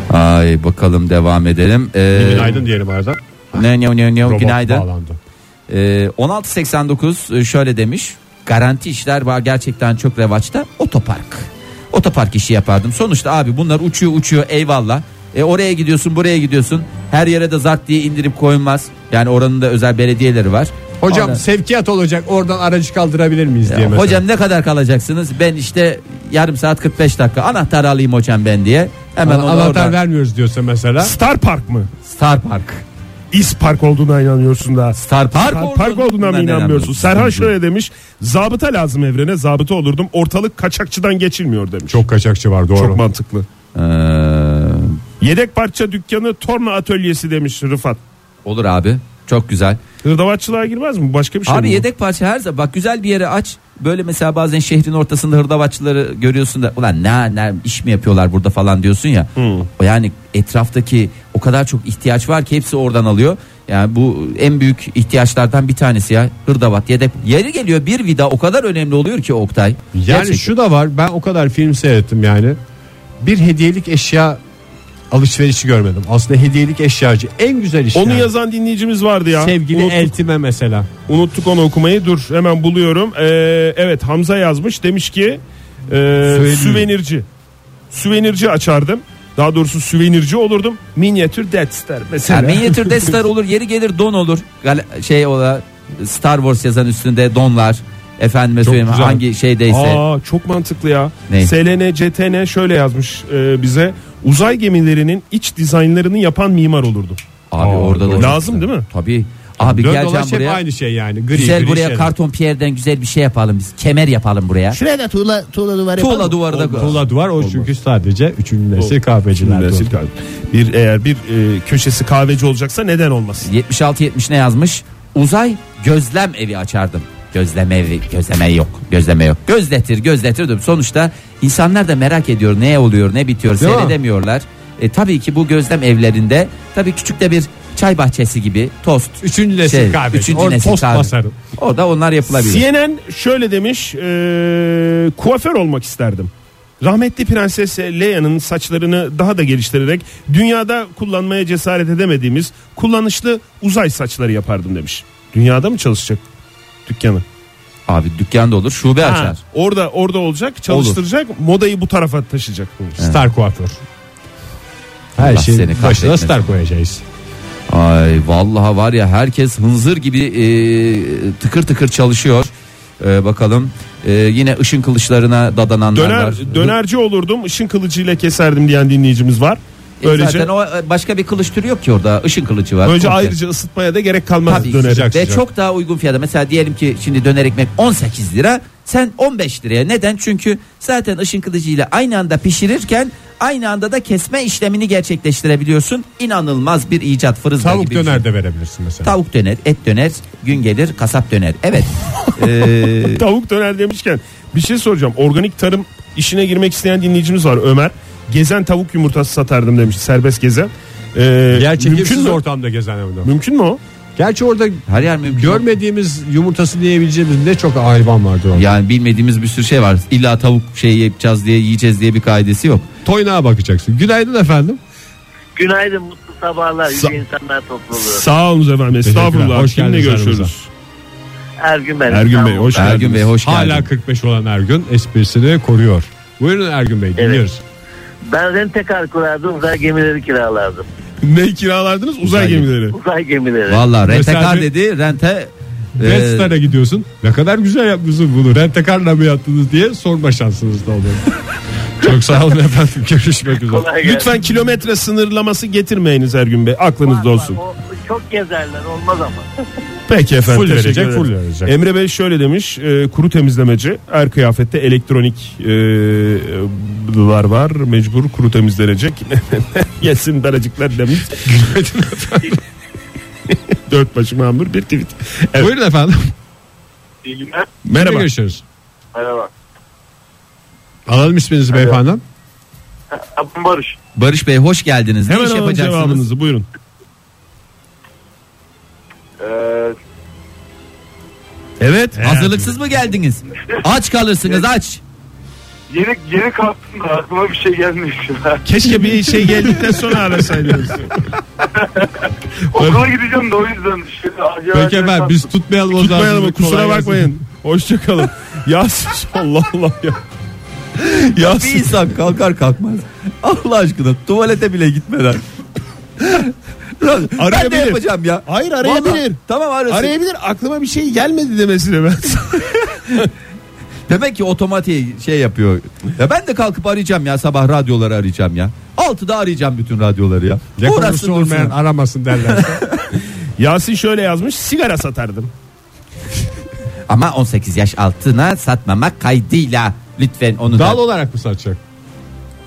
I: Ay bakalım devam edelim.
B: E,
I: Ee,
D: Günaydın diyelim arada.
I: Ne ne ne ne
D: Robot
I: günaydın.
D: bağlandı.
I: Ee, 1689 e, şöyle demiş. Garanti işler var gerçekten çok revaçta. Otopark. Otopark işi yapardım. Sonuçta abi bunlar uçuyor uçuyor eyvallah. E oraya gidiyorsun buraya gidiyorsun. Her yere de zart diye indirip koyulmaz. Yani oranın da özel belediyeleri var.
D: Hocam
B: Orada-
D: sevkiyat olacak oradan aracı kaldırabilir miyiz diye mesela.
B: Hocam ne kadar kalacaksınız? Ben işte yarım saat 45 dakika anahtar alayım hocam ben diye. Hemen
D: Ana-
B: onu
D: anahtar
B: oradan-
D: vermiyoruz diyorsa mesela.
E: Star Park mı?
B: Star Park.
E: İs Park olduğuna inanıyorsun da.
B: Star Park,
E: Park, park olduğuna mı inanmıyorsun? Serhan şöyle demiş. Zabıta lazım evrene. Zabıta olurdum. Ortalık kaçakçıdan geçilmiyor demiş.
D: Çok kaçakçı var doğru.
E: Çok mantıklı.
J: Ee,
E: Yedek parça dükkanı torna atölyesi demiş Rıfat.
J: olur abi.
B: Çok güzel.
E: Hırdavatçılığa girmez mi? Başka bir şey mi?
B: Abi
E: bu?
B: yedek parça her zaman bak güzel bir yere aç. Böyle mesela bazen şehrin ortasında hırdavatçıları görüyorsun da ulan ne, ne iş mi yapıyorlar burada falan diyorsun ya. O yani etraftaki o kadar çok ihtiyaç var ki hepsi oradan alıyor. Yani bu en büyük ihtiyaçlardan bir tanesi ya hırdavat yedek. Yeri geliyor bir vida o kadar önemli oluyor ki Oktay.
D: Yani
B: Gerçekten.
D: şu da var ben o kadar film seyrettim yani. Bir hediyelik eşya alışverişi görmedim. Aslında hediyelik eşyacı en güzel iş.
E: Onu
D: yani.
E: yazan dinleyicimiz vardı ya.
D: Sevgili
E: Unuttuk,
D: eltime mesela.
E: unuttuk onu okumayı. Dur hemen buluyorum. Ee, evet Hamza yazmış. Demiş ki e, süvenirci. Süvenirci açardım. Daha doğrusu süvenirci olurdum. Minyatür Death Star mesela.
B: Yani minyatür de star olur yeri gelir don olur. Gal- şey ola Star Wars yazan üstünde donlar. Efendime söyleyeyim
E: güzel.
B: hangi şeydeyse.
E: Aa çok mantıklı ya.
B: Ne?
E: Selene Cetene şöyle yazmış e, bize. Uzay gemilerinin iç dizaynlarını yapan mimar olurdu.
B: Abi
E: Aa,
B: orada da
E: doğru. Lazım değil mi?
B: Tabii. Abi
D: Dön
B: geleceğim
D: dolaş hep
B: buraya.
D: aynı şey yani. Gri,
B: Güzel
D: gri
B: buraya
D: şeyler.
B: karton pierden güzel bir şey yapalım biz. Kemer yapalım buraya.
I: Şuraya da tuğla, tuğla duvarı yapalım.
B: Tuğla duvarda
D: Tuğla duvar o çünkü sadece 3. nesil kahveciler.
E: Nesil kahve. Bir eğer bir e, köşesi kahveci olacaksa neden olmasın?
B: 76 70 ne yazmış? Uzay gözlem evi açardım. Gözlem evi, gözleme yok. Gözleme yok. Gözletir, gözletir. diyorum. Sonuçta insanlar da merak ediyor ne oluyor, ne bitiyor,
D: Değil mi?
B: seyredemiyorlar. E, tabii ki bu gözlem evlerinde tabii küçük de bir çay bahçesi gibi tost.
D: 3. nesil
B: Şey,
D: kahveci.
B: üçüncü
D: Or-
B: nesil
D: tost
B: kahve.
D: basarım.
B: Orada onlar yapılabilir.
E: CNN şöyle demiş. e, kuaför olmak isterdim. Rahmetli Prenses Leia'nın saçlarını daha da geliştirerek dünyada kullanmaya cesaret edemediğimiz kullanışlı uzay saçları yapardım demiş. Dünyada mı çalışacak dükkanı?
B: Abi dükkanda olur, şube
E: Ha,
B: açar.
E: orada orada olacak, çalıştıracak, modayı bu tarafa taşıyacak.
D: Star kuaför. Her
B: Allah seni
D: şeyin başına
B: kahretmesin.
D: star koyacağız.
B: Ay vallahi var ya herkes hınzır gibi e, tıkır tıkır çalışıyor. E, bakalım E, yine ışın kılıçlarına dadananlar
E: Döner
B: var.
E: dönerci olurdum, ışın kılıcıyla keserdim diyen dinleyicimiz var.
B: E,
E: Böylece
B: Zaten o e, başka bir kılıç türü yok ki orada. Işın kılıcı var.
E: böylece
B: Komple.
E: ayrıca ısıtmaya da gerek kalmaz
B: Tabii ki.
E: döner.
D: Sıcak
B: Ve
D: sıcak.
B: çok daha uygun fiyata. Mesela diyelim ki şimdi döner ekmek 18 lira. Sen 15 liraya. Neden? Çünkü zaten ışın kılıcıyla aynı anda pişirirken aynı anda da kesme işlemini gerçekleştirebiliyorsun. İnanılmaz bir icat fırızda
D: Tavuk
B: gibi. bir şey.
D: döner de verebilirsin mesela.
B: Tavuk döner, et döner, gün gelir kasap döner. Evet. Ee,
E: Tavuk döner demişken bir şey soracağım. Organik tarım işine girmek isteyen dinleyicimiz var Ömer. Gezen tavuk yumurtası satardım demiş. Serbest gezen. Ee,
D: Gerçi
E: mümkün
D: hırsız
E: mü?
D: ortamda gezen evde.
E: Mümkün mü o?
D: Gerçi orada
B: Her yer mümkün.
D: görmediğimiz yumurtası diyebileceğimiz ne çok hayvan vardır orada.
B: yani bilmediğimiz bir sürü şey var. İlla tavuk şeyi yapacağız diye yiyeceğiz diye bir kaidesi yok.
D: Toynağa bakacaksın. Günaydın efendim.
F: Günaydın mutlu sabahlar yüce insanlar topluluğu.
E: Sağ olun efendim. Estağfurullah.
D: Hoş
E: Kimle
D: geldiniz
E: görüşüyoruz?
D: aramıza.
F: Ergün ben.
E: Ergün Bey
F: İstanbul.
E: hoş geldiniz.
B: Ergün Bey E, hoş geldin.
D: Hala 45 olan Ergün esprisini koruyor. Buyurun Ergün Bey dinliyoruz.
F: Ben rentekar kurardım uzay gemileri kiralardım.
E: Ne kiralardınız? Uzay,
B: Uzay gemi.
E: gemileri.
F: Uzay gemileri.
B: Valla rente
D: Mesela
B: kar
D: bir-
B: dedi rente.
D: Red
B: e,
D: Star'a gidiyorsun. Ne kadar güzel yapmışsın bunu. Rentekarla mı yattınız diye sorma şansınız da oluyor. Çok sağ olun efendim. Görüşmek üzere.
F: Kolay gelsin.
E: Lütfen kilometre sınırlaması getirmeyiniz Ergün Bey. Aklınızda
F: Var, var.
E: olsun.
F: O çok gezerler olmaz ama.
E: Peki efendim.
D: Full
E: teşekkür
D: verecek,
E: ederim.
D: full verecek.
E: Emre Bey şöyle demiş. e, kuru temizlemeci. Her kıyafette elektronik e, e, lar var. Mecbur kuru temizlenecek. Yesin daracıklar demiş. Dört başı mamur bir tweet. Evet.
D: Buyurun efendim.
F: İyi günler.
D: Merhaba.
E: Merhaba.
D: Görüşürüz.
F: Merhaba.
D: Alalım isminizi beyefendi.
F: Abim Barış.
B: Barış Bey hoş geldiniz.
E: Hemen
B: ne iş
E: alın
B: yapacaksınız?
E: cevabınızı buyurun.
K: e,
F: Ee,
E: Evet.
B: Hazırlıksız mı geldiniz? Aç kalırsınız aç.
K: Yeni, yeni kalktım da aklıma bir şey gelmemiş.
E: Keşke bir şey geldikten sonra arasaydınız.
K: Okula gideceğim de o yüzden. Şimdi acil
D: Peki
K: acil
D: efendim
K: kalktım.
D: biz tutmayalım o zaman.
E: Tutmayalım
D: Kolay
E: kusura
D: gelsin.
E: bakmayın. Hoşçakalın. ya siz- Allah Allah ya. Ya
B: Bir
E: siz-
B: insan kalkar kalkmaz. Allah aşkına tuvalete bile gitmeden. ben de yapacağım ya.
E: Hayır arayabilir.
B: Vallahi. Tamam arasın.
E: Arayabilir aklıma bir şey gelmedi demesine ben.
B: Demek ki otomatiği şey yapıyor. Ya ben de kalkıp arayacağım ya sabah radyoları arayacağım ya. Altıda arayacağım bütün radyoları ya.
D: Ne
B: Uğraşsın
D: konusu
B: dursun.
D: olmayan aramasın derler.
E: Yasin şöyle yazmış sigara satardım.
I: Ama 18 yaş altına satmamak kaydıyla lütfen onu
D: Dal
I: da.
D: olarak mı satacak?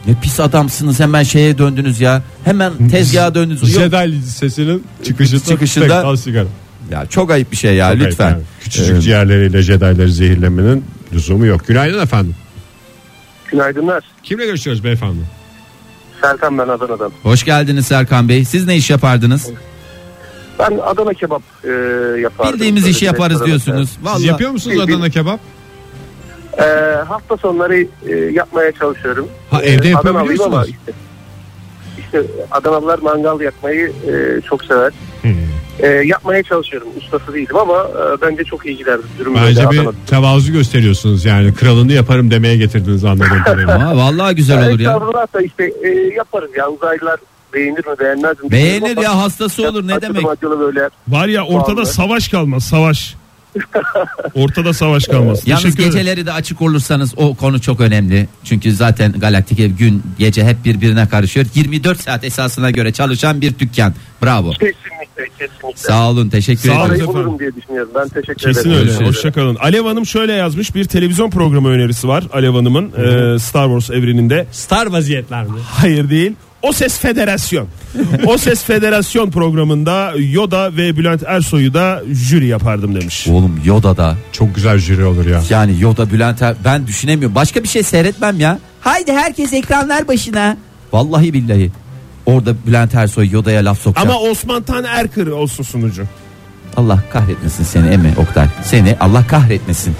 I: Ne pis adamsınız hemen şeye döndünüz ya. Hemen tezgaha döndünüz. Yok,
D: Jedi sesinin çıkışı
B: Çıkışında-
D: çıkışında tek dal sigara.
B: Ya çok ayıp bir şey ya
D: Hayır,
B: lütfen.
D: yani Küçücük
B: Ee,
D: ciğerleriyle Jedi'leri zehirlemenin lüzumu yok. Günaydın efendim.
F: Günaydınlar.
D: Kimle görüşüyoruz beyefendi?
F: Serkan ben Adana'dan.
I: Hoş geldiniz Serkan Bey. Siz ne iş yapardınız?
F: Ben Adana kebap e, yapardım.
I: Bildiğimiz
F: Böyle şey
I: işi yaparız
F: restoran-
I: diyorsunuz.
D: Siz
I: Vallahi
D: yapıyor musunuz
F: Bir- bir-
D: Adana kebap?
F: E, hafta sonları e, yapmaya çalışıyorum.
D: Ha,
F: E,
D: evde yapabiliyor
F: Adanalıyım
D: musunuz?
F: ama Işte, işte Adanalılar mangal yakmayı e, çok sever. E, yapmaya çalışıyorum. Ustası değilim ama e, bence çok iyi gider. Durum
D: Bence
F: böyle
D: bir
F: Adana'da.
D: tevazu gösteriyorsunuz yani kralını yaparım demeye getirdiniz anladığım kadarıyla.
I: Aa, vallahi güzel olur ya.
F: Estağfurullah da işte e, yaparız ya uzaylılar beğenir mi beğenmez mi?
I: Beğenir
F: Bilmiyorum
I: ya
F: ama-
I: hastası olur ne
F: Acılı
I: demek.
F: acılı böyle.
E: Var ya ortada
F: Vallahi.
E: savaş kalmaz savaş. Ortada savaş kalmaz.
I: Yalnız
E: Teşekkür ederim.
I: geceleri de açık olursanız o konu çok önemli. Çünkü zaten galaktik ev gün gece hep birbirine karışıyor. 24 saat esasına göre çalışan bir dükkan. Bravo.
F: Kesinlikle kesinlikle.
I: Sağ olun teşekkür
E: Sağ olun.
I: ederim.
F: Arayı
E: efendim.
F: bulurum diye düşünüyorum. Ben teşekkür
E: Kesin
F: ederim.
E: öyle. şey- Hoşçakalın. Alev Hanım şöyle yazmış. Bir televizyon programı önerisi var Alev Hanım'ın. e, Star Wars evreninde.
D: Star vaziyetler mi?
E: Hayır değil. O Ses Federasyon. o Ses Federasyon programında Yoda ve Bülent Ersoy'u da jüri yapardım demiş.
B: Oğlum Yoda da
D: Çok güzel jüri olur ya.
B: yani Yoda Bülent
I: Bülent Er- ben düşünemiyorum. Başka bir şey seyretmem ya. Haydi herkes ekranlar başına. Vallahi billahi. Orada Bülent Ersoy Yoda'ya laf sokacak.
E: Ama Osman Tan Erkır olsun sunucu.
I: Allah kahretmesin seni Emi Oktay. Seni Allah kahretmesin.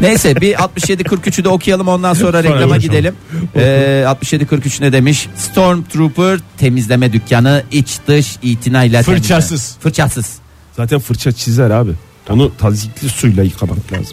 I: Neyse bir 67-43'ü de okuyalım ondan sonra reklama
E: konuşalım.
I: gidelim. Ee, 67-43 ne demiş? Stormtrooper temizleme dükkanı iç dış itinayla temizle.
D: Fırçasız.
I: Fırçasız.
E: Zaten fırça çizer abi. Onu tazikli suyla yıkamak lazım.